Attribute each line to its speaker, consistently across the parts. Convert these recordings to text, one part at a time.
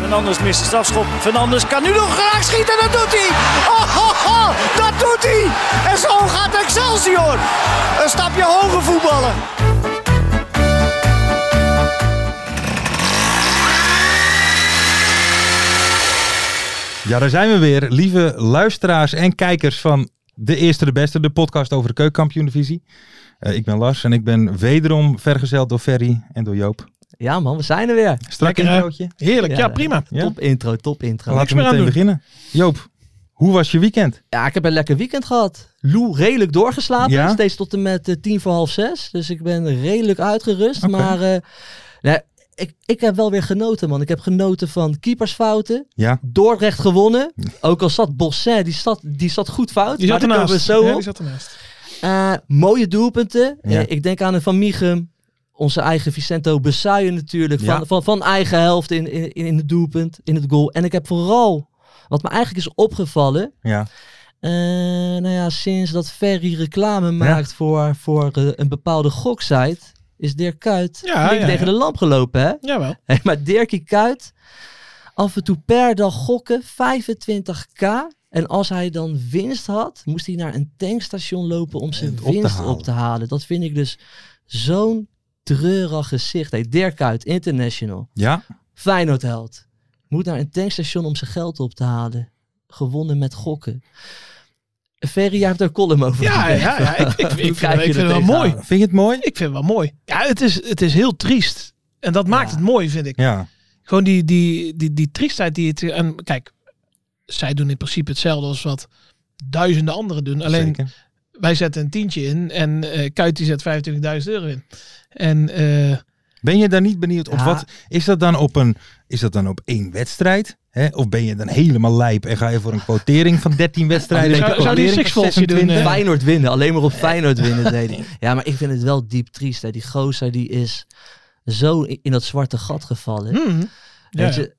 Speaker 1: Fernandes mist de strafschop. Fernandes kan nu nog graag schieten. Dat doet hij. Oh, oh, oh, dat doet hij. En zo gaat Excelsior. Een stapje hoger voetballen.
Speaker 2: Ja, daar zijn we weer. Lieve luisteraars en kijkers van De Eerste de Beste, de podcast over de keukenkampioen-divisie. Eh, ik ben Lars en ik ben wederom vergezeld door Ferry en door Joop.
Speaker 3: Ja man, we zijn er weer.
Speaker 2: Strak
Speaker 4: Lekker, hè?
Speaker 2: introotje.
Speaker 4: Heerlijk, ja,
Speaker 3: Ja,
Speaker 4: prima.
Speaker 2: Ja?
Speaker 3: Top intro, top intro.
Speaker 2: Laten we
Speaker 4: meer aan
Speaker 2: meteen
Speaker 4: doen.
Speaker 2: beginnen. Joop, hoe was je weekend?
Speaker 3: Ja, ik heb een lekker weekend gehad. Lou redelijk doorgeslapen.
Speaker 2: Ja?
Speaker 3: Steeds tot en met eh, tien voor half zes. Dus ik ben redelijk uitgerust.
Speaker 2: Oké.
Speaker 3: Maar eh, nee, ik, ik heb wel weer genoten man. Ik heb genoten van keepersfouten.
Speaker 2: Ja,
Speaker 3: Dordrecht gewonnen. Ook al zat Bosset, die zat, die zat goed fout.
Speaker 4: Die
Speaker 3: maar
Speaker 4: zat
Speaker 3: daar komen
Speaker 4: ernaast.
Speaker 3: we zo
Speaker 4: Ja,
Speaker 3: op.
Speaker 4: die zat ernaast.
Speaker 3: Eh, mooie doelpunten. Eh,
Speaker 2: Ja.
Speaker 3: ik denk aan een Van Michum. Onze eigen Vicento Besuijen natuurlijk. Van,
Speaker 2: Ja.
Speaker 3: van, van eigen helft in, in, in het doelpunt, in het goal. En ik heb vooral, wat me eigenlijk is opgevallen.
Speaker 2: ja.
Speaker 3: eh, nou ja, sinds dat Ferry reclame maakt voor, voor eh, een bepaalde goksite. Is Dirk Kuyt
Speaker 4: Ja,
Speaker 3: flink
Speaker 4: ja,
Speaker 3: tegen
Speaker 4: ja.
Speaker 3: de lamp gelopen hè?
Speaker 4: Jawel.
Speaker 3: Hé, maar Dirkie Kuyt, af en toe per dag gokken, 25k. En als hij dan winst had, moest hij naar een tankstation lopen om zijn
Speaker 2: het op te
Speaker 3: winst
Speaker 2: halen.
Speaker 3: op te halen. Dat vind ik dus zo'n treurig gezicht. Hey, Dirk Kuyt, international.
Speaker 2: Ja,
Speaker 3: Feyenoordheld. Moet naar een tankstation om zijn geld op te halen. Gewonnen met gokken. Ferry, jij hebt daar een column over.
Speaker 4: Ja, ja,
Speaker 3: geschreven.
Speaker 4: ja. Ik, ik, ik,
Speaker 3: Hoe
Speaker 4: vind, ik
Speaker 3: kijk je
Speaker 4: vind
Speaker 3: er
Speaker 4: het wel
Speaker 3: tegenaan?
Speaker 4: mooi.
Speaker 2: vind je het mooi?
Speaker 4: Ik vind het wel mooi. Ja, het is, het is heel triest. En dat maakt
Speaker 3: Ja.
Speaker 4: het mooi, vind ik.
Speaker 2: Ja,
Speaker 4: Gewoon die, die, die, die triestheid die het... En kijk, zij doen in principe hetzelfde als wat duizenden anderen doen. Alleen
Speaker 2: zeker.
Speaker 4: wij zetten een tientje in en eh Kuit die zet 25.000 euro in. En eh,
Speaker 2: Ben je daar niet benieuwd op?
Speaker 3: Ja.
Speaker 2: Wat, is, dat dan op een, is dat dan op één wedstrijd? Hè? Of ben je dan helemaal lijp en ga je voor een quotering van 13 wedstrijden?
Speaker 3: Zou-
Speaker 2: met een
Speaker 4: zou die
Speaker 2: quotering van
Speaker 4: sixfoldje doen,
Speaker 2: 26?
Speaker 4: eh?
Speaker 3: Feyenoord winnen. Alleen maar op Feyenoord winnen deed hij. Ja, maar ik vind het wel diep triest. Hè. Die gozer die is zo i- in dat zwarte gat gevallen.
Speaker 4: hmm,
Speaker 3: Weet
Speaker 4: ja.
Speaker 3: je,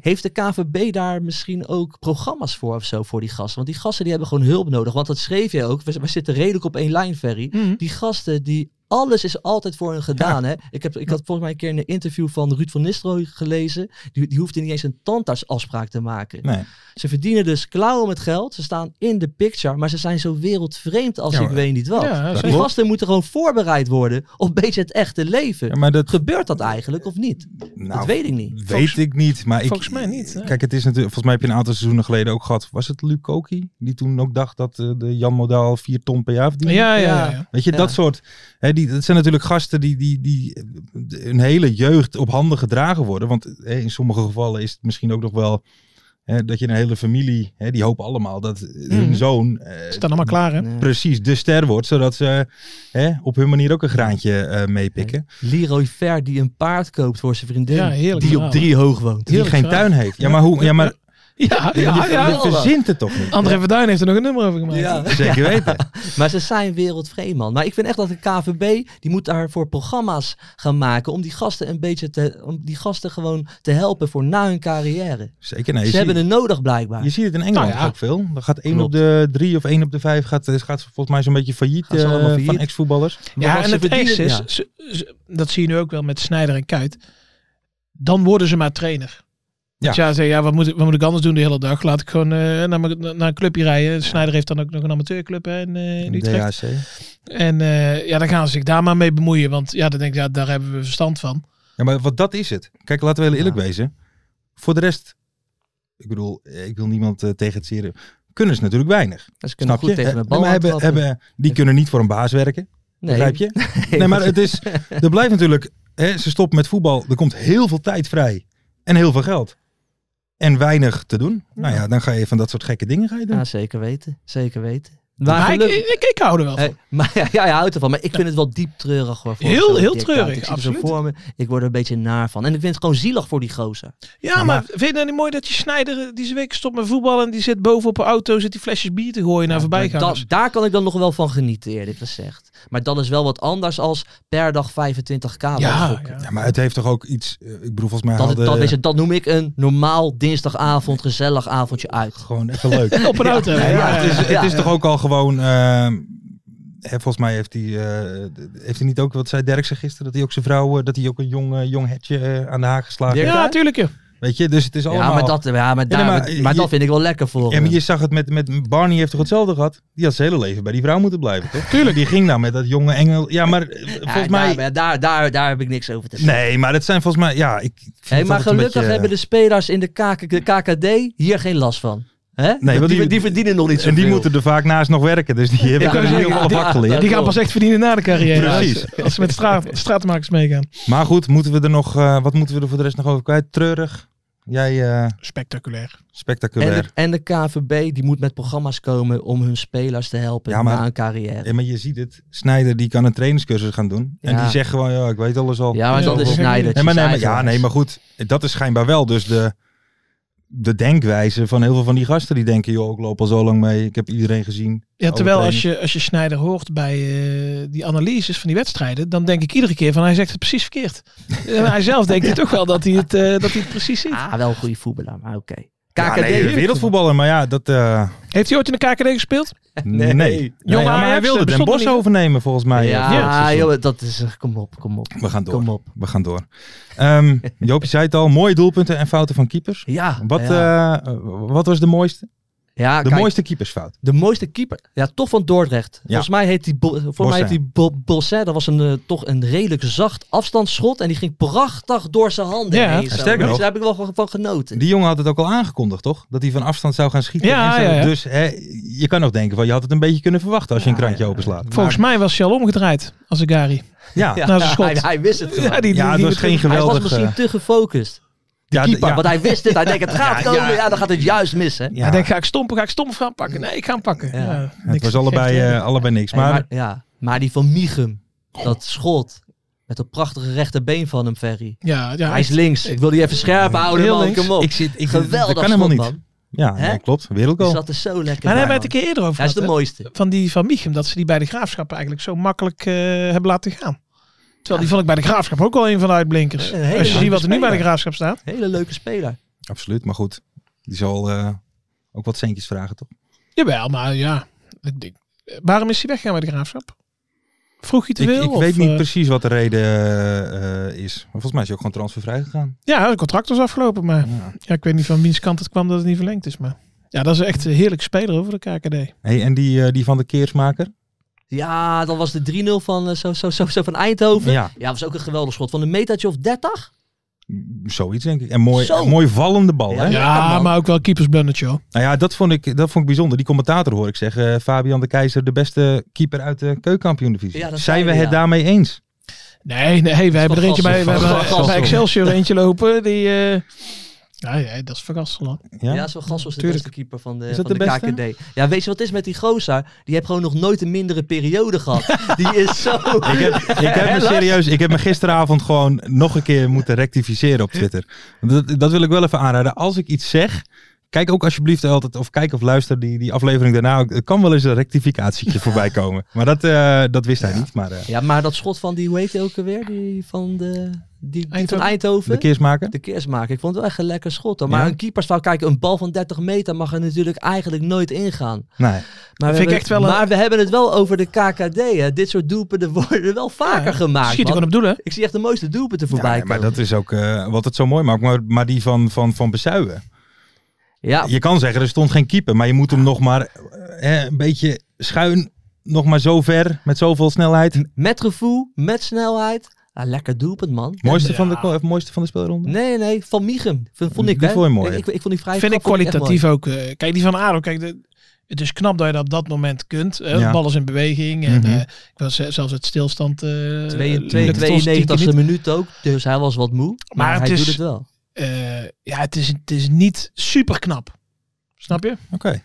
Speaker 3: heeft de KVB daar misschien ook programma's voor of zo voor die gasten? Want die gasten die hebben gewoon hulp nodig. Want dat schreef je ook. We, we zitten redelijk op één lijn, Ferry.
Speaker 4: Mhm.
Speaker 3: Die gasten die... Alles is altijd voor hun gedaan. Hè? Ik, heb, ik had volgens mij een keer een interview van Ruud van Nistelrooy gelezen. Die, die hoefde niet eens een tandartsafspraak te maken.
Speaker 2: Nee.
Speaker 3: Ze verdienen dus klauwen met geld. Ze staan in de picture, maar ze zijn zo wereldvreemd als
Speaker 2: Ja,
Speaker 3: ik
Speaker 2: maar-
Speaker 3: weet niet wat.
Speaker 4: Ja,
Speaker 2: dat
Speaker 3: die
Speaker 2: klopt.
Speaker 3: gasten moeten gewoon voorbereid worden op een beetje het echte leven.
Speaker 2: Ja, maar dat,
Speaker 3: Gebeurt dat eigenlijk of niet?
Speaker 2: nou,
Speaker 3: dat weet ik niet.
Speaker 2: Weet
Speaker 4: Volgens-
Speaker 2: ik niet, maar ik,
Speaker 4: volgens mij niet, hè?
Speaker 2: Kijk, het is natuurlijk, volgens mij heb je een aantal seizoenen geleden ook gehad. Was het Luc Koki die toen ook dacht dat eh, de Jan Modaal 4 ton per jaar verdiende?
Speaker 4: Ja, ja, ja, ja.
Speaker 2: Weet je,
Speaker 3: Ja.
Speaker 2: dat soort. Hè, die, dat zijn natuurlijk gasten die, die, die eh, hun hele jeugd op handen gedragen worden. Want hè, in sommige gevallen is het misschien ook nog wel hè, dat je een hele familie, hè, die hopen allemaal dat hun
Speaker 4: Mhm.
Speaker 2: zoon eh,
Speaker 4: Staan allemaal klaar, hè?
Speaker 3: Nee.
Speaker 2: precies de ster wordt. Zodat ze hè, op hun manier ook een graantje eh, meepikken.
Speaker 3: Leroy Ver die een paard koopt voor zijn vriendin.
Speaker 4: Ja, heerlijk
Speaker 3: die
Speaker 4: verhaal.
Speaker 3: op drie hoog woont.
Speaker 2: Die
Speaker 4: Heerlijk
Speaker 2: geen
Speaker 4: verhaal.
Speaker 2: tuin heeft. Ja, maar hoe? Ja, maar
Speaker 4: Ja,
Speaker 2: je,
Speaker 4: ja,
Speaker 2: je
Speaker 4: ja.
Speaker 2: verzint het toch niet?
Speaker 4: André Verduin heeft er nog een nummer over gemaakt.
Speaker 3: Ja.
Speaker 2: Zeker weten.
Speaker 3: Maar ze zijn wereldvreemd, man. Maar ik vind echt dat de KVB, die moet daarvoor programma's gaan maken om die gasten een beetje te, om die gasten gewoon te helpen voor na hun carrière.
Speaker 2: Zeker nee.
Speaker 3: Ze
Speaker 2: je
Speaker 3: hebben
Speaker 2: ziet-
Speaker 3: het nodig blijkbaar.
Speaker 2: Je ziet het in Engeland
Speaker 4: Nou ja.
Speaker 2: ook veel. Dan gaat één
Speaker 3: Klopt.
Speaker 2: op de drie of één op de vijf gaat, eh, gaat volgens mij zo'n beetje failliet,
Speaker 3: Gaan ze
Speaker 2: eh,
Speaker 3: allemaal
Speaker 2: van
Speaker 3: failliet?
Speaker 2: ex-voetballers.
Speaker 3: Maar
Speaker 4: Ja,
Speaker 3: als
Speaker 4: en
Speaker 3: ze
Speaker 4: het ergste
Speaker 3: verdienen-
Speaker 4: is,
Speaker 3: ja.
Speaker 4: ze- ze- dat zie je nu ook wel met Snijder en Kuit. Dan worden ze maar trainer.
Speaker 2: Ja.
Speaker 4: Ja, ja, ze, ja wat, moet, ik- wat moet ik anders doen de hele dag? Laat ik gewoon eh, naar, mijn- naar een clubje rijden. Snijder heeft dan ook nog een amateurclub hè, in, eh, in Utrecht.
Speaker 2: DHC.
Speaker 4: En eh, ja, dan gaan ze zich daar maar mee bemoeien. Want ja, dan denk ik, ja, daar hebben we verstand van.
Speaker 2: Ja, maar wat dat is het. Kijk, laten we heel eerlijk
Speaker 3: Ja.
Speaker 2: wezen. Voor de rest, ik bedoel, eh, ik wil niemand eh, tegen het zeren. Kunnen ze natuurlijk weinig.
Speaker 3: Ze kunnen
Speaker 2: snap
Speaker 3: goed
Speaker 2: je?
Speaker 3: tegen
Speaker 2: Eh,
Speaker 3: een bal
Speaker 2: maar hebben,
Speaker 3: aantrappen.
Speaker 2: hebben, die kunnen niet voor een baas werken.
Speaker 3: Nee.
Speaker 2: Begrijp je? Nee, maar het is, er blijft natuurlijk, hè, ze stoppen met voetbal, er komt heel veel tijd vrij en heel veel geld. En weinig te doen. Nou ja, dan ga je van dat soort gekke dingen ga je doen.
Speaker 3: Ja, zeker weten. Zeker weten.
Speaker 4: Maar, ik,
Speaker 3: geluk-
Speaker 4: ik, ik, ik hou er wel van.
Speaker 3: Hey, maar ja, ja, je houdt ervan. Maar ik vind het wel diep treurig. Hoor, voor
Speaker 4: Heel-
Speaker 3: zo'n
Speaker 4: heel
Speaker 3: Dirk
Speaker 4: treurig,
Speaker 3: Kuyt. Ik zie hem zo
Speaker 4: absoluut.
Speaker 3: voor me. Ik word er een beetje naar van. En ik vind het gewoon zielig voor die gozer.
Speaker 4: Ja, maar, vind je nou niet mooi dat je Snijder eh, deze week stopt met voetballen en die zit boven op een auto, zit die flesjes bier te gooien naar
Speaker 3: Maar
Speaker 4: voorbijgangers?
Speaker 3: da- daar kan ik dan nog wel van genieten, eerlijk gezegd. Maar dat is wel wat anders als per dag 25k.
Speaker 4: Ja, ja.
Speaker 2: Ja, maar het heeft toch ook iets, eh, ik bedoel volgens mij
Speaker 3: Dat,
Speaker 2: hadden-
Speaker 3: dat, weet je, dat noem ik een normaal dinsdagavond gezellig avondje uit.
Speaker 2: gewoon even leuk.
Speaker 4: Op een auto.
Speaker 2: Nee, maar het is, het
Speaker 3: Ja.
Speaker 2: is toch ook al gewoon. ehm, hè, volgens mij heeft hij, eh, heeft hij niet ook, wat zei Derksen gisteren, dat hij ook zijn vrouw, eh, dat hij ook een jong, eh, jong hetje eh, aan de haak geslagen
Speaker 3: Dirk?
Speaker 2: heeft.
Speaker 4: Ja, tuurlijk. joh.
Speaker 2: Weet je, dus het is allemaal.
Speaker 3: Ja, maar, dat, ja, maar, daar,
Speaker 2: maar
Speaker 3: maar,
Speaker 2: je-
Speaker 3: dat vind ik wel lekker voor.
Speaker 2: Ja, maar
Speaker 3: hem.
Speaker 2: je zag het met, met Barney heeft toch hetzelfde gehad? Die had zijn hele leven bij die vrouw moeten blijven, toch? Tuurlijk. Die ging nou met dat jonge engel. Ja, maar eh,
Speaker 3: Ja,
Speaker 2: volgens mij.
Speaker 3: daar, daar, daar, daar heb ik niks over te zeggen.
Speaker 2: Nee, maar dat zijn volgens mij. Ja, ik. ik vind
Speaker 3: Hey,
Speaker 2: het
Speaker 3: maar
Speaker 2: altijd een
Speaker 3: gelukkig
Speaker 2: beetje,
Speaker 3: hebben de spelers in de, KK, de KKD hier geen last van. Hè?
Speaker 2: want
Speaker 3: die,
Speaker 2: die-
Speaker 3: die verdienen nog niet
Speaker 2: En
Speaker 3: zoveel.
Speaker 2: die moeten er vaak naast nog werken, dus die hebben
Speaker 3: Ik wou
Speaker 2: kunnen in
Speaker 3: zeggen,
Speaker 2: ieder geval
Speaker 3: die-
Speaker 2: vak geleerd.
Speaker 4: Die gaan pas echt verdienen na de carrière.
Speaker 2: Precies.
Speaker 4: Als, als ze met straat, straatmakers meegaan.
Speaker 2: Maar goed, moeten we er nog, eh, wat moeten we er voor de rest nog over kwijt? Treurig. Jij eh,
Speaker 4: Spectaculair.
Speaker 2: spectaculair.
Speaker 3: en, de, en de KVB die moet met programma's komen om hun spelers te helpen
Speaker 2: Ja, maar-
Speaker 3: na een carrière.
Speaker 2: Ja, maar je ziet het. Snijder die kan een trainingscursus gaan doen. En
Speaker 3: Ja.
Speaker 2: die zegt gewoon, ja, ik weet alles al.
Speaker 3: Ja, maar
Speaker 4: Ja,
Speaker 3: dat is
Speaker 4: ja.
Speaker 3: Sneijder.
Speaker 2: nee, maar, nee, maar, ja, nee, maar goed. Dat is schijnbaar wel dus de, de denkwijze van heel veel van die gasten. Die denken, joh, ik loop al zo lang mee. Ik heb iedereen gezien.
Speaker 4: Ja,
Speaker 2: Alle
Speaker 4: terwijl als
Speaker 2: trainers.
Speaker 4: je, als je Snijder hoort bij eh, die analyses van die wedstrijden, dan denk ik iedere keer van hij zegt het precies verkeerd. En hij zelf denkt het toch wel dat hij het, eh, dat hij het precies ziet.
Speaker 3: Ah, wel een goede voetballer, maar oké.
Speaker 2: Ja,
Speaker 3: KKD.
Speaker 2: nee, wereldvoetballer. Maar ja, dat... eh,
Speaker 4: Heeft hij ooit in de KKD gespeeld?
Speaker 2: nee. nee.
Speaker 4: Jong
Speaker 2: ja, maar hij
Speaker 4: Ajax,
Speaker 2: wilde
Speaker 4: dat
Speaker 2: Den
Speaker 4: bestond
Speaker 2: Bos
Speaker 4: nog niet.
Speaker 2: overnemen volgens mij. eh,
Speaker 3: ja,
Speaker 2: voor het seizoen.
Speaker 3: joh, dat is... Kom op, kom op.
Speaker 2: We gaan door.
Speaker 3: Kom op.
Speaker 2: We gaan door. Ehm, Joopje zei het al. Mooie doelpunten en fouten van keepers.
Speaker 3: Ja,
Speaker 2: Wat,
Speaker 3: ja.
Speaker 2: eh, wat was de mooiste?
Speaker 3: ja,
Speaker 2: De
Speaker 3: kijk,
Speaker 2: mooiste keepersfout.
Speaker 3: De mooiste keeper. Ja, toch van Dordrecht. Volgens mij heet die, Bo- voor mij heet die Bo- Bosset. Dat was een, eh, toch een redelijk zacht afstandsschot. En die ging prachtig door zijn handen
Speaker 4: Ja.
Speaker 3: heen. zo.
Speaker 2: Sterker
Speaker 3: Dus
Speaker 2: nog-
Speaker 3: daar heb ik wel van- van genoten.
Speaker 2: Die jongen had het ook al aangekondigd, toch? Dat hij van afstand zou gaan schieten.
Speaker 4: Ja,
Speaker 2: En zo.
Speaker 4: ja, ja.
Speaker 2: Dus hè, je kan nog denken, van, je had het een beetje kunnen verwachten als je een
Speaker 3: Ja,
Speaker 2: krantje
Speaker 3: ja.
Speaker 2: openslaat.
Speaker 4: Volgens mij was hij al omgedraaid als een Gary.
Speaker 2: Ja, ja.
Speaker 4: Nou, zijn schot.
Speaker 3: hij, hij wist het gewoon.
Speaker 4: die,
Speaker 2: het was geen
Speaker 3: hij was
Speaker 2: geweldig...
Speaker 3: misschien
Speaker 2: eh,
Speaker 3: te gefocust.
Speaker 2: ja, d-
Speaker 3: Keeper,
Speaker 2: ja.
Speaker 3: want hij wist het. Hij denkt, het gaat komen. Ja. dan gaat het juist missen.
Speaker 2: Ja,
Speaker 4: Hij denkt, ga ik stompen, ga ik stompen gaan pakken? Nee, ik ga hem pakken.
Speaker 3: Ja.
Speaker 4: Ja.
Speaker 2: het
Speaker 4: niks.
Speaker 2: was allebei,
Speaker 4: Geen-
Speaker 2: eh, allebei niks.
Speaker 3: Hey,
Speaker 2: Maar,
Speaker 3: maar, ja. maar die van Michum. Dat schot. Met dat prachtige rechterbeen van hem, Ferry.
Speaker 4: ja, ja,
Speaker 3: Hij is links. Ik wil die even scherp houden,
Speaker 4: Heel
Speaker 3: man.
Speaker 4: links.
Speaker 3: Kom op.
Speaker 2: ik zit, ik,
Speaker 3: Geweldig
Speaker 2: dat kan
Speaker 3: schot,
Speaker 2: helemaal niet.
Speaker 3: man.
Speaker 2: Ja,
Speaker 3: Hè?
Speaker 2: nee, klopt.
Speaker 3: Die
Speaker 2: Wereldgoal.
Speaker 3: zat er zo lekker
Speaker 4: Maar daar
Speaker 3: bij,
Speaker 4: hebben we het een
Speaker 3: man.
Speaker 4: keer eerder over
Speaker 3: Hij is
Speaker 4: gehad.
Speaker 3: de
Speaker 4: hè?
Speaker 3: mooiste.
Speaker 4: van die van Michum, dat ze die bij de graafschap eigenlijk zo makkelijk eh, hebben laten gaan. Terwijl die vond ik bij de graafschap ook wel een van de uitblinkers.
Speaker 3: Een hele
Speaker 4: Als je ziet wat er nu
Speaker 3: speler.
Speaker 4: bij de graafschap staat.
Speaker 3: Hele leuke speler.
Speaker 2: Absoluut, maar goed. Die zal eh, ook wat centjes vragen, toch?
Speaker 4: Jawel, maar ja. ik denk- Waarom is hij weggegaan bij de graafschap? Vroeg je te
Speaker 2: Ik,
Speaker 4: veel?
Speaker 2: ik
Speaker 4: of,
Speaker 2: weet niet
Speaker 4: eh,
Speaker 2: precies wat de reden eh, eh, is. Maar volgens mij is hij ook gewoon transfervrij gegaan.
Speaker 4: Ja, het contract was afgelopen, maar
Speaker 2: Ja.
Speaker 4: ja, ik weet niet van wiens kant het kwam dat het niet verlengd is. Maar ja, dat is echt een heerlijk speler over de KKD.
Speaker 2: Hey, en die, eh, die van de Keersmaker?
Speaker 3: Ja, dat was de 3-0 van, eh, zo, zo, zo, zo van Eindhoven.
Speaker 2: Ja,
Speaker 3: Ja, was ook een geweldig schot. Van een metertje of 30.
Speaker 2: zoiets denk ik. En mooi,
Speaker 3: Zo.
Speaker 2: mooi vallende bal, hè?
Speaker 3: Ja, lekker,
Speaker 4: Ja,
Speaker 3: man.
Speaker 4: maar ook wel keepersblundertje hoor.
Speaker 2: Nou ja, dat vond ik, dat vond ik bijzonder. Die commentator hoor ik zeggen, eh, Fabian de Keizer, de beste keeper uit de keukenkampioen-divisie.
Speaker 3: Ja, dat
Speaker 2: Zijn
Speaker 3: zei
Speaker 2: we
Speaker 3: hij,
Speaker 2: het
Speaker 3: ja.
Speaker 2: daarmee eens?
Speaker 4: Nee, nee, we hebben er eentje bij, we
Speaker 3: Vergassel.
Speaker 4: hebben
Speaker 3: Vergassel.
Speaker 4: bij Excelsior eentje lopen. Die, eh, ja, ja, dat is vergassel. hoor.
Speaker 2: Ja?
Speaker 3: Ja, zo'n gast was de
Speaker 2: Tuurlijk.
Speaker 3: beste keeper van de,
Speaker 2: Is dat
Speaker 3: van
Speaker 2: de
Speaker 3: de,
Speaker 2: beste?
Speaker 3: KKD. Ja, weet je wat het is met die gozer? Die heeft gewoon nog nooit een mindere periode gehad. Die is zo...
Speaker 2: Ik heb, ik heb me
Speaker 3: Helaas.
Speaker 2: serieus, ik heb me gisteravond gewoon nog een keer moeten rectificeren op Twitter. Dat, dat wil ik wel even aanraden. Als ik iets zeg, kijk ook alsjeblieft altijd, of kijk of luister die, die aflevering daarna. ook. Er kan wel eens een rectificatietje voorbij komen. Maar dat, eh, dat wist hij niet. Maar eh,
Speaker 3: Ja, maar dat schot van die, hoe heet hij ook alweer? Die van, de, die, die van
Speaker 4: Eindhoven.
Speaker 2: de
Speaker 3: Eindhoven.
Speaker 2: Keersmaker?
Speaker 3: De keersmaker. Ik vond het wel echt een lekker schot. hoor. Maar
Speaker 2: Ja.
Speaker 3: een keepersfout, kijk, een bal van 30 meter mag er natuurlijk eigenlijk nooit ingaan.
Speaker 2: Nee.
Speaker 3: Maar, we
Speaker 4: Vind
Speaker 3: hebben,
Speaker 4: ik echt wel een-
Speaker 3: maar we hebben het wel over de KKD. Hè. Dit soort doelpunten worden wel vaker gemaakt.
Speaker 4: Schiet
Speaker 3: man.
Speaker 4: gewoon op doelen.
Speaker 3: Ik zie echt de mooiste doelpunten voorbij
Speaker 2: Ja, nee, maar
Speaker 3: komen.
Speaker 2: dat is ook eh, wat het zo mooi maakt. Maar, maar die van, van, van Bezuijen.
Speaker 3: Ja,
Speaker 2: Je kan zeggen, er stond geen keeper. Maar je moet hem nog maar eh, een beetje schuin. Nog maar zo ver, met zoveel snelheid.
Speaker 3: met gevoel, met snelheid. Ah, lekker doelpunt, man.
Speaker 2: Mooiste,
Speaker 4: Ja.
Speaker 2: van, de, of mooiste van de speelronde?
Speaker 3: Nee, nee, van Michum. Vond, vond ik,
Speaker 2: Die
Speaker 3: hè.
Speaker 2: vond je mooi.
Speaker 3: Ik, ik, ik vond die vrij
Speaker 4: vind ik
Speaker 3: vond echt mooi.
Speaker 4: kwalitatief ook. eh, kijk, die van Ado, kijk, de, het is knap dat je dat op dat moment kunt. Hè?
Speaker 2: Ja.
Speaker 4: Bal is in beweging. En,
Speaker 2: Mhm.
Speaker 4: eh, ik was zelfs het stilstand. eh, lukt het ons tien keer
Speaker 3: 92
Speaker 4: niet.
Speaker 3: minuut ook, dus hij was wat moe. Maar,
Speaker 4: Maar het
Speaker 3: hij
Speaker 4: is-
Speaker 3: doet het wel.
Speaker 4: Eh, ja, het is, het is niet super knap. Snap je?
Speaker 2: Oké.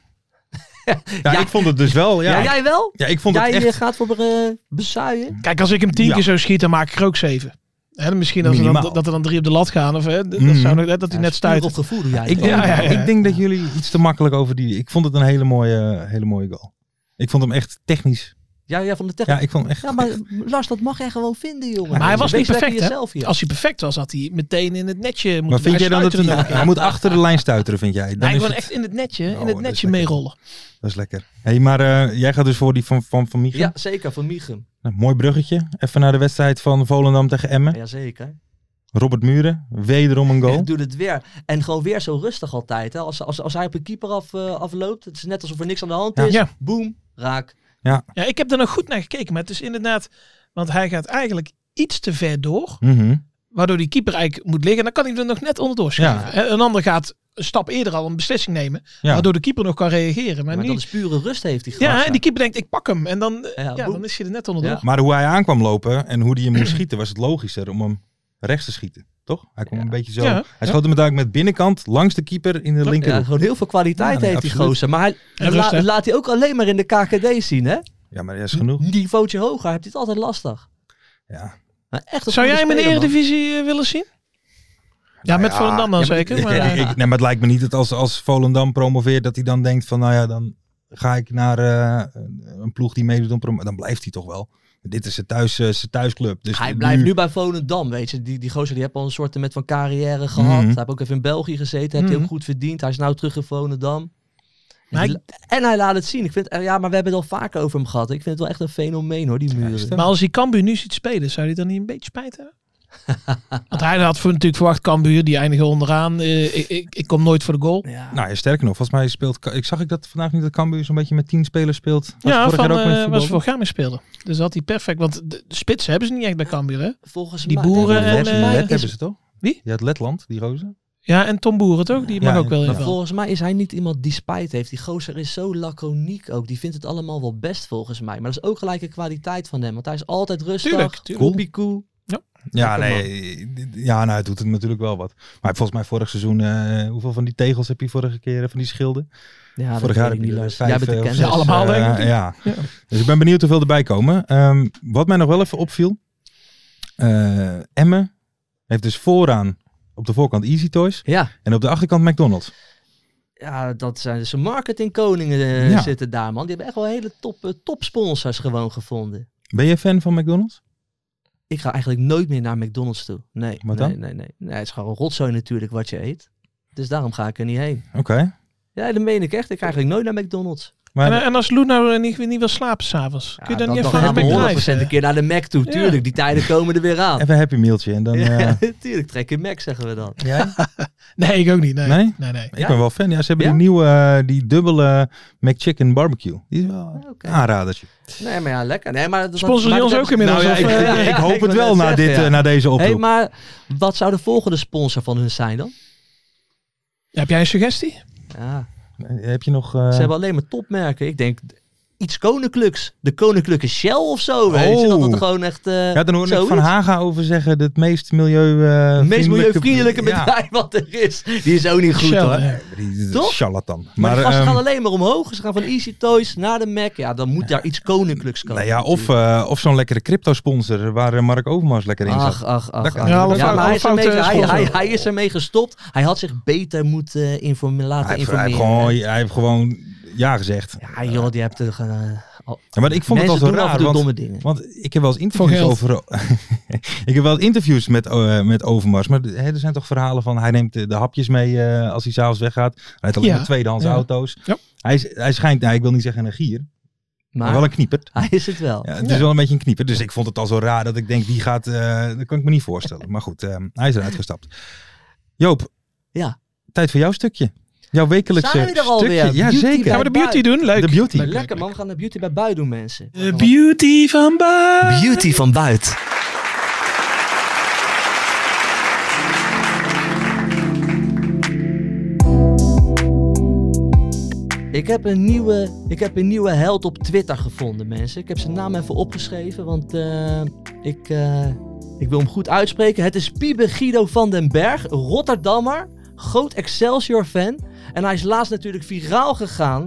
Speaker 2: ja, ik vond het dus wel. Ja,
Speaker 3: Ja,
Speaker 2: ja,
Speaker 3: jij wel?
Speaker 2: ik vond
Speaker 3: Jij
Speaker 2: het
Speaker 3: eh,
Speaker 2: echt.
Speaker 3: gaat voor eh bezuien?
Speaker 4: Kijk, als ik hem tien
Speaker 2: Ja.
Speaker 4: keer zo schiet, dan maak ik er ook zeven. Hè, dan misschien als er dan,
Speaker 2: Minimaal.
Speaker 4: dat er dan drie op de lat gaan. Of, hè, d- dat,
Speaker 2: Mhm.
Speaker 4: zou nog- hè, dat hij net stuit.
Speaker 3: Op gevoel doe jij
Speaker 2: Ik
Speaker 3: het
Speaker 2: denk,
Speaker 3: wel.
Speaker 4: Ja, ja, ja.
Speaker 2: ik denk dat jullie iets te makkelijk over die. Ik vond het een hele mooie, hele mooie goal. Ik vond hem echt technisch.
Speaker 3: Ja, ja, van de techniek.
Speaker 2: Ja, ik vond hem echt.
Speaker 3: Ja, maar Lars, dat mag jij gewoon vinden, jongen.
Speaker 4: Maar hij was
Speaker 3: Wees
Speaker 4: niet
Speaker 3: lekker
Speaker 4: perfect, hè?
Speaker 3: jezelf hier.
Speaker 4: Als hij perfect was, had hij meteen in het netje moeten
Speaker 2: Maar vind jij dan dat hij,
Speaker 4: hij...
Speaker 2: hij moet achter de lijn stuiteren, vind jij? Dan
Speaker 4: Nee,
Speaker 2: is
Speaker 4: gewoon
Speaker 2: het-
Speaker 4: echt in het netje,
Speaker 2: Oh,
Speaker 4: in
Speaker 2: dat
Speaker 4: het
Speaker 2: is lekker.
Speaker 4: netje meerollen.
Speaker 2: Dat is lekker. hey, maar eh, jij gaat dus voor die van, van, van Michiel.
Speaker 3: Ja, zeker, van Michem.
Speaker 2: Nou, mooi bruggetje. Even naar de wedstrijd van Volendam tegen Emmen.
Speaker 3: Ja, zeker.
Speaker 2: Robert Muren, wederom een
Speaker 3: Hij
Speaker 2: goal.
Speaker 3: doet het weer. En gewoon weer zo rustig altijd. Hè. Als, als, als hij op een keeper af, eh, afloopt, het is net alsof er niks aan de hand
Speaker 2: Ja.
Speaker 3: is.
Speaker 4: Ja.
Speaker 3: Boom, raak.
Speaker 4: Ja, ik heb er nog goed naar gekeken. Maar het is inderdaad... Want hij gaat eigenlijk iets te ver door.
Speaker 2: Mhm.
Speaker 4: Waardoor die keeper eigenlijk moet liggen. En dan kan hij er nog net onderdoor schieten.
Speaker 2: Ja.
Speaker 4: Hè, Een ander gaat een stap eerder al een beslissing nemen.
Speaker 2: Ja.
Speaker 4: Waardoor de keeper nog kan reageren.
Speaker 3: Maar
Speaker 4: Maar,
Speaker 3: dat
Speaker 4: niet...
Speaker 3: is pure rust heeft hij
Speaker 4: Ja, en die keeper denkt, ik pak hem. En dan, eh,
Speaker 3: Ja,
Speaker 4: ja,
Speaker 3: boem.
Speaker 4: dan is hij er net onderdoor.
Speaker 3: Ja.
Speaker 2: Maar hoe hij aankwam lopen en hoe hij hem moest schieten, was het logischer om hem rechts te schieten. Toch? Hij kwam een beetje zo.
Speaker 4: Ja.
Speaker 2: Hij schoot hem uiteindelijk met binnenkant langs de keeper in de linkerhoek.
Speaker 3: Ja,
Speaker 2: Ja.
Speaker 3: gewoon heel veel kwaliteit
Speaker 2: Ja, nee,
Speaker 3: heeft die
Speaker 2: absoluut.
Speaker 3: gozer. Maar hij
Speaker 4: En
Speaker 3: la-
Speaker 4: rust, hè?
Speaker 3: laat hij ook alleen maar in de KKD zien, hè?
Speaker 2: maar dat is genoeg.
Speaker 3: Niveautje hoger, heeft hij het altijd lastig.
Speaker 2: Ja.
Speaker 3: Maar echt een
Speaker 4: Zou
Speaker 3: goede
Speaker 4: jij hem in de
Speaker 3: speler, man.
Speaker 4: Eredivisie eh, willen zien? Ja, met
Speaker 2: ja,
Speaker 4: Volendam dan
Speaker 3: ja, maar
Speaker 4: zeker.
Speaker 2: Ik,
Speaker 4: maar, eh,
Speaker 2: ik- ik- nee, maar het lijkt me niet dat als, als Volendam promoveert, dat hij dan denkt van, nou ja, dan ga ik naar eh, een ploeg die meedoet om promo- Dan blijft hij toch wel. Dit is zijn, thuis, eh, zijn thuisclub. Dus
Speaker 3: Hij
Speaker 4: Mm.
Speaker 3: blijft nu bij Volendam, weet je. Die, die gozer die heeft al een soort met van carrière gehad.
Speaker 4: Mm.
Speaker 2: Mhm.
Speaker 3: Hij heeft ook even in België gezeten. Heeft hij
Speaker 4: Mhm.
Speaker 3: ook goed verdiend. Hij is nou terug in Volendam. En,
Speaker 4: Maar
Speaker 3: die- en hij laat het zien. Ik vind, eh, ja, maar we hebben het al vaker over hem gehad. Ik vind het wel echt een fenomeen hoor, die muren.
Speaker 4: maar als hij Cambuur nu ziet spelen, zou hij dan niet een beetje spijt hebben? Want hij had voor, natuurlijk verwacht Cambuur, die eindigen onderaan. Eh, ik, ik, ik kom nooit voor de goal.
Speaker 3: ja.
Speaker 2: Nou ja, sterker nog, volgens mij speelt... Ka- Ik zag ik dat vandaag niet dat Cambuur zo'n beetje met tien spelers speelt. Was
Speaker 4: ja,
Speaker 2: vorig
Speaker 4: van,
Speaker 2: jaar ook met
Speaker 4: eh,
Speaker 2: voetbal,
Speaker 4: was voor Gamis speelde. Dus dat hij perfect. Want de, de spitsen hebben ze niet echt bij Cambuur, hè?
Speaker 3: volgens
Speaker 4: die
Speaker 3: mij-
Speaker 4: boeren
Speaker 3: volgens
Speaker 4: en, eh,
Speaker 3: mij
Speaker 2: Let
Speaker 3: is-
Speaker 2: hebben ze toch?
Speaker 4: Wie?
Speaker 2: Ja, het Letland, die rozen.
Speaker 4: Ja, en Tom Boeren toch? Die
Speaker 2: Ja,
Speaker 4: mag ook wel
Speaker 2: maar
Speaker 4: in.
Speaker 3: Maar volgens mij is hij niet iemand die spijt heeft. Die gozer is zo laconiek ook. Die vindt het allemaal wel best volgens mij. Maar dat is ook gelijk een kwaliteit van hem. Want hij is altijd rustig.
Speaker 4: Tuurlijk, tuurlijk.
Speaker 3: koepie koe.
Speaker 2: Ja,
Speaker 3: Lekker
Speaker 2: nee, ja, nou, het doet hem natuurlijk wel wat. Maar hij heeft volgens mij vorig seizoen, eh, hoeveel van die tegels heb je vorige keer, eh, van die schilden?
Speaker 3: Ja, dat
Speaker 2: vorig
Speaker 3: weet
Speaker 2: jaar
Speaker 3: ik
Speaker 2: heb je
Speaker 3: niet,
Speaker 2: er
Speaker 3: Lars.
Speaker 2: vijf,
Speaker 3: Jij bent de
Speaker 2: eh, of
Speaker 3: kenner.
Speaker 2: zes,
Speaker 4: Ja, allemaal,
Speaker 2: eh,
Speaker 4: denk ik.
Speaker 2: ja. Dus ik ben benieuwd hoeveel erbij komen. Ehm, wat mij nog wel even opviel, eh Emme heeft dus vooraan op de voorkant Easy Toys
Speaker 3: Ja,
Speaker 2: en op de achterkant McDonald's.
Speaker 3: ja, dat zijn dus marketingkoningen eh,
Speaker 2: Ja.
Speaker 3: zitten daar, man. Die hebben echt wel hele top, eh, topsponsors gewoon gevonden.
Speaker 2: Ben je fan van McDonald's?
Speaker 3: Ik ga eigenlijk nooit meer naar McDonald's toe. Nee,
Speaker 2: Wat
Speaker 3: nee,
Speaker 2: dan?
Speaker 3: nee, nee. Nee, het is gewoon rotzooi natuurlijk wat je eet. Dus daarom ga ik er niet heen.
Speaker 2: Oké.
Speaker 3: Ja, dat meen ik echt. Ik ga eigenlijk nooit naar McDonald's.
Speaker 2: Maar
Speaker 4: En, en als Lou nou eh, niet, niet wil slapen s'avonds,
Speaker 3: Ja,
Speaker 4: kun je dan niet
Speaker 3: dan
Speaker 4: even eh? naar
Speaker 3: gaan we
Speaker 4: McDonald's?
Speaker 3: 100% een keer naar de Mac toe.
Speaker 4: Ja.
Speaker 3: Tuurlijk, die tijden komen er weer aan.
Speaker 2: even een happy mealtje en dan... eh,
Speaker 3: Ja, tuurlijk, trek in Mac zeggen we dan.
Speaker 2: jij?
Speaker 4: Nee, ik ook niet. Nee,
Speaker 2: Nee?
Speaker 4: nee, nee.
Speaker 2: Ik
Speaker 3: Ja?
Speaker 2: ben wel fan. Ja, ze hebben
Speaker 3: Ja?
Speaker 2: die nieuwe, eh, die dubbele McChicken barbecue. Die is wel
Speaker 3: Ja, Ah, oké.
Speaker 2: een aanradertje.
Speaker 3: Nee, maar ja, lekker. Nee, maar dat- dat,
Speaker 4: Sponsor die
Speaker 3: maar
Speaker 4: ons
Speaker 3: dat-
Speaker 4: ook inmiddels?
Speaker 2: Nou ja,
Speaker 4: of,
Speaker 2: ik,
Speaker 4: eh,
Speaker 3: ja,
Speaker 2: ik
Speaker 3: ja,
Speaker 2: hoop
Speaker 3: ik
Speaker 2: het
Speaker 3: wou
Speaker 2: wel
Speaker 3: net
Speaker 2: na,
Speaker 3: zeggen,
Speaker 2: dit,
Speaker 3: ja.
Speaker 2: eh, na deze oproep.
Speaker 3: hey, maar wat zou de volgende sponsor van hun zijn dan?
Speaker 4: Heb jij een suggestie?
Speaker 3: Ja,
Speaker 2: Eh, Heb je nog... eh,
Speaker 3: Ze hebben alleen maar topmerken. Ik denk iets koninklijks. De koninklijke Shell of zo. Weet je?
Speaker 2: Oh.
Speaker 3: Dat het gewoon echt. eh,
Speaker 2: ja, dan hoorde ik
Speaker 3: zoiets.
Speaker 2: Van Haga over zeggen, dat het meest milieu... eh,
Speaker 3: Het meest milieuvriendelijke
Speaker 2: Ja,
Speaker 3: bedrijf wat er is. Die is ook niet goed
Speaker 4: Shell,
Speaker 3: hoor.
Speaker 4: ja.
Speaker 2: die
Speaker 3: Toch?
Speaker 2: charlatan.
Speaker 3: Maar,
Speaker 2: Maar,
Speaker 3: die gasten
Speaker 2: ehm,
Speaker 3: gaan alleen maar omhoog. Ze gaan van Easy Toys naar de Mac. Ja, dan moet daar iets koninklijks komen.
Speaker 2: nou ja, of, eh, of zo'n lekkere crypto-sponsor waar eh, Mark Overmars lekker in zat.
Speaker 3: Ach, ach, ach.
Speaker 2: Dat eh,
Speaker 3: ach.
Speaker 2: kan.
Speaker 4: Ja, alle
Speaker 3: Ja,
Speaker 4: fout-
Speaker 3: maar hij
Speaker 4: alle
Speaker 3: is, ermee,
Speaker 4: foute
Speaker 3: hij, hij,
Speaker 4: sponsor.
Speaker 3: hij is ermee gestopt. Hij had zich beter moeten informeren, laten
Speaker 2: Hij heeft, hij, heeft
Speaker 3: informeren.
Speaker 2: gewoon, hij heeft gewoon ja gezegd.
Speaker 3: Ja, joh, die hebt er. eh, al-
Speaker 2: Ja, maar ik vond
Speaker 3: Mensen
Speaker 2: het al zo
Speaker 3: doen af en
Speaker 2: raar,
Speaker 3: toe
Speaker 2: want-
Speaker 3: domme dingen.
Speaker 2: Want ik heb wel eens
Speaker 4: Voor
Speaker 2: interviews
Speaker 4: geld.
Speaker 2: over. ik heb wel eens interviews met, eh, met Overmars. Maar hè, er zijn toch verhalen van hij neemt de, de hapjes mee eh, als hij s'avonds weggaat. Hij rijdt alleen
Speaker 4: Ja.
Speaker 2: maar tweedehands
Speaker 4: Ja.
Speaker 2: auto's.
Speaker 4: Ja.
Speaker 2: Hij, is- hij schijnt, nou, ik wil niet zeggen een gier, maar,
Speaker 3: Maar Ah.
Speaker 2: wel een kniepert.
Speaker 3: hij is het wel.
Speaker 2: Ja, het is wel een beetje een knieper. Dus ik vond het al zo raar dat ik denk, die gaat. eh, dat kan ik me niet voorstellen. Maar goed, eh, hij is eruit gestapt. Joop,
Speaker 3: Ja.
Speaker 2: tijd voor jouw stukje. Jouw wekelijkse
Speaker 3: Zijn we er
Speaker 2: stukje.
Speaker 3: alweer?
Speaker 2: Ja,
Speaker 3: Beauty
Speaker 2: zeker.
Speaker 4: Gaan we de beauty doen? Leuk.
Speaker 2: De beauty.
Speaker 4: Leuk, leuk,
Speaker 3: Lekker man, we gaan naar Beauty bij Bui doen, mensen.
Speaker 4: De beauty van Baan.
Speaker 3: Beauty van buiten. Ik Ik heb, een nieuwe, ik heb een nieuwe held op Twitter gevonden, mensen. Ik heb zijn naam even opgeschreven, want eh, ik, eh, ik wil hem goed uitspreken. Het is Piebe Guido van den Berg, Rotterdammer, groot Excelsior-fan. En hij is laatst natuurlijk viraal gegaan.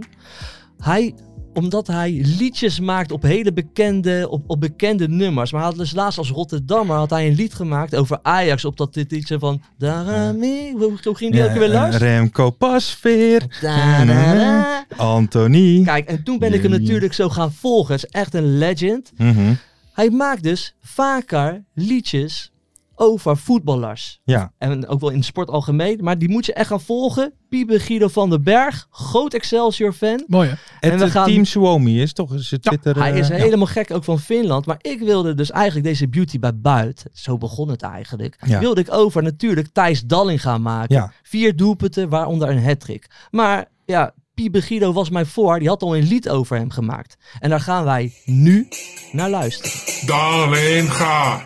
Speaker 3: Hij omdat hij liedjes maakt op hele bekende, op, op bekende nummers. Maar hij had dus laatst als Rotterdammer had hij een lied gemaakt over Ajax. Op dat dit liedje van... Daarom ik- Hoe hoe ging die ook weer
Speaker 2: eh,
Speaker 3: luisteren?
Speaker 2: Remco Pasveer, Mm-hmm.
Speaker 3: Da, da, da.
Speaker 2: Anthony.
Speaker 3: Kijk, en toen ben ik hem
Speaker 2: Jee.
Speaker 3: natuurlijk zo gaan volgen. Het is echt een legend.
Speaker 2: Mhm.
Speaker 3: Hij maakt dus vaker liedjes over voetballers.
Speaker 2: Ja,
Speaker 3: En ook wel in de sport algemeen. Maar die moet je echt gaan volgen. Piebe Guido van den Berg. Groot Excelsior-fan.
Speaker 4: Mooi hè?
Speaker 2: het
Speaker 3: we
Speaker 2: eh,
Speaker 3: gaan-
Speaker 2: team Suomi is toch is het
Speaker 4: Ja,
Speaker 2: Twitter.
Speaker 3: Hij
Speaker 2: eh,
Speaker 3: is
Speaker 2: ja.
Speaker 3: helemaal gek, ook van Finland. Maar ik wilde dus eigenlijk deze beauty bij buit. Zo begon het eigenlijk.
Speaker 2: Ja.
Speaker 3: Wilde ik over natuurlijk Thijs Dalling gaan maken.
Speaker 2: Ja.
Speaker 3: Vier doelpunten, waaronder een hattrick. Maar ja, Piebe Guido was mij voor. Die had al een lied over hem gemaakt. En daar gaan wij nu naar luisteren.
Speaker 5: Daarleen ga.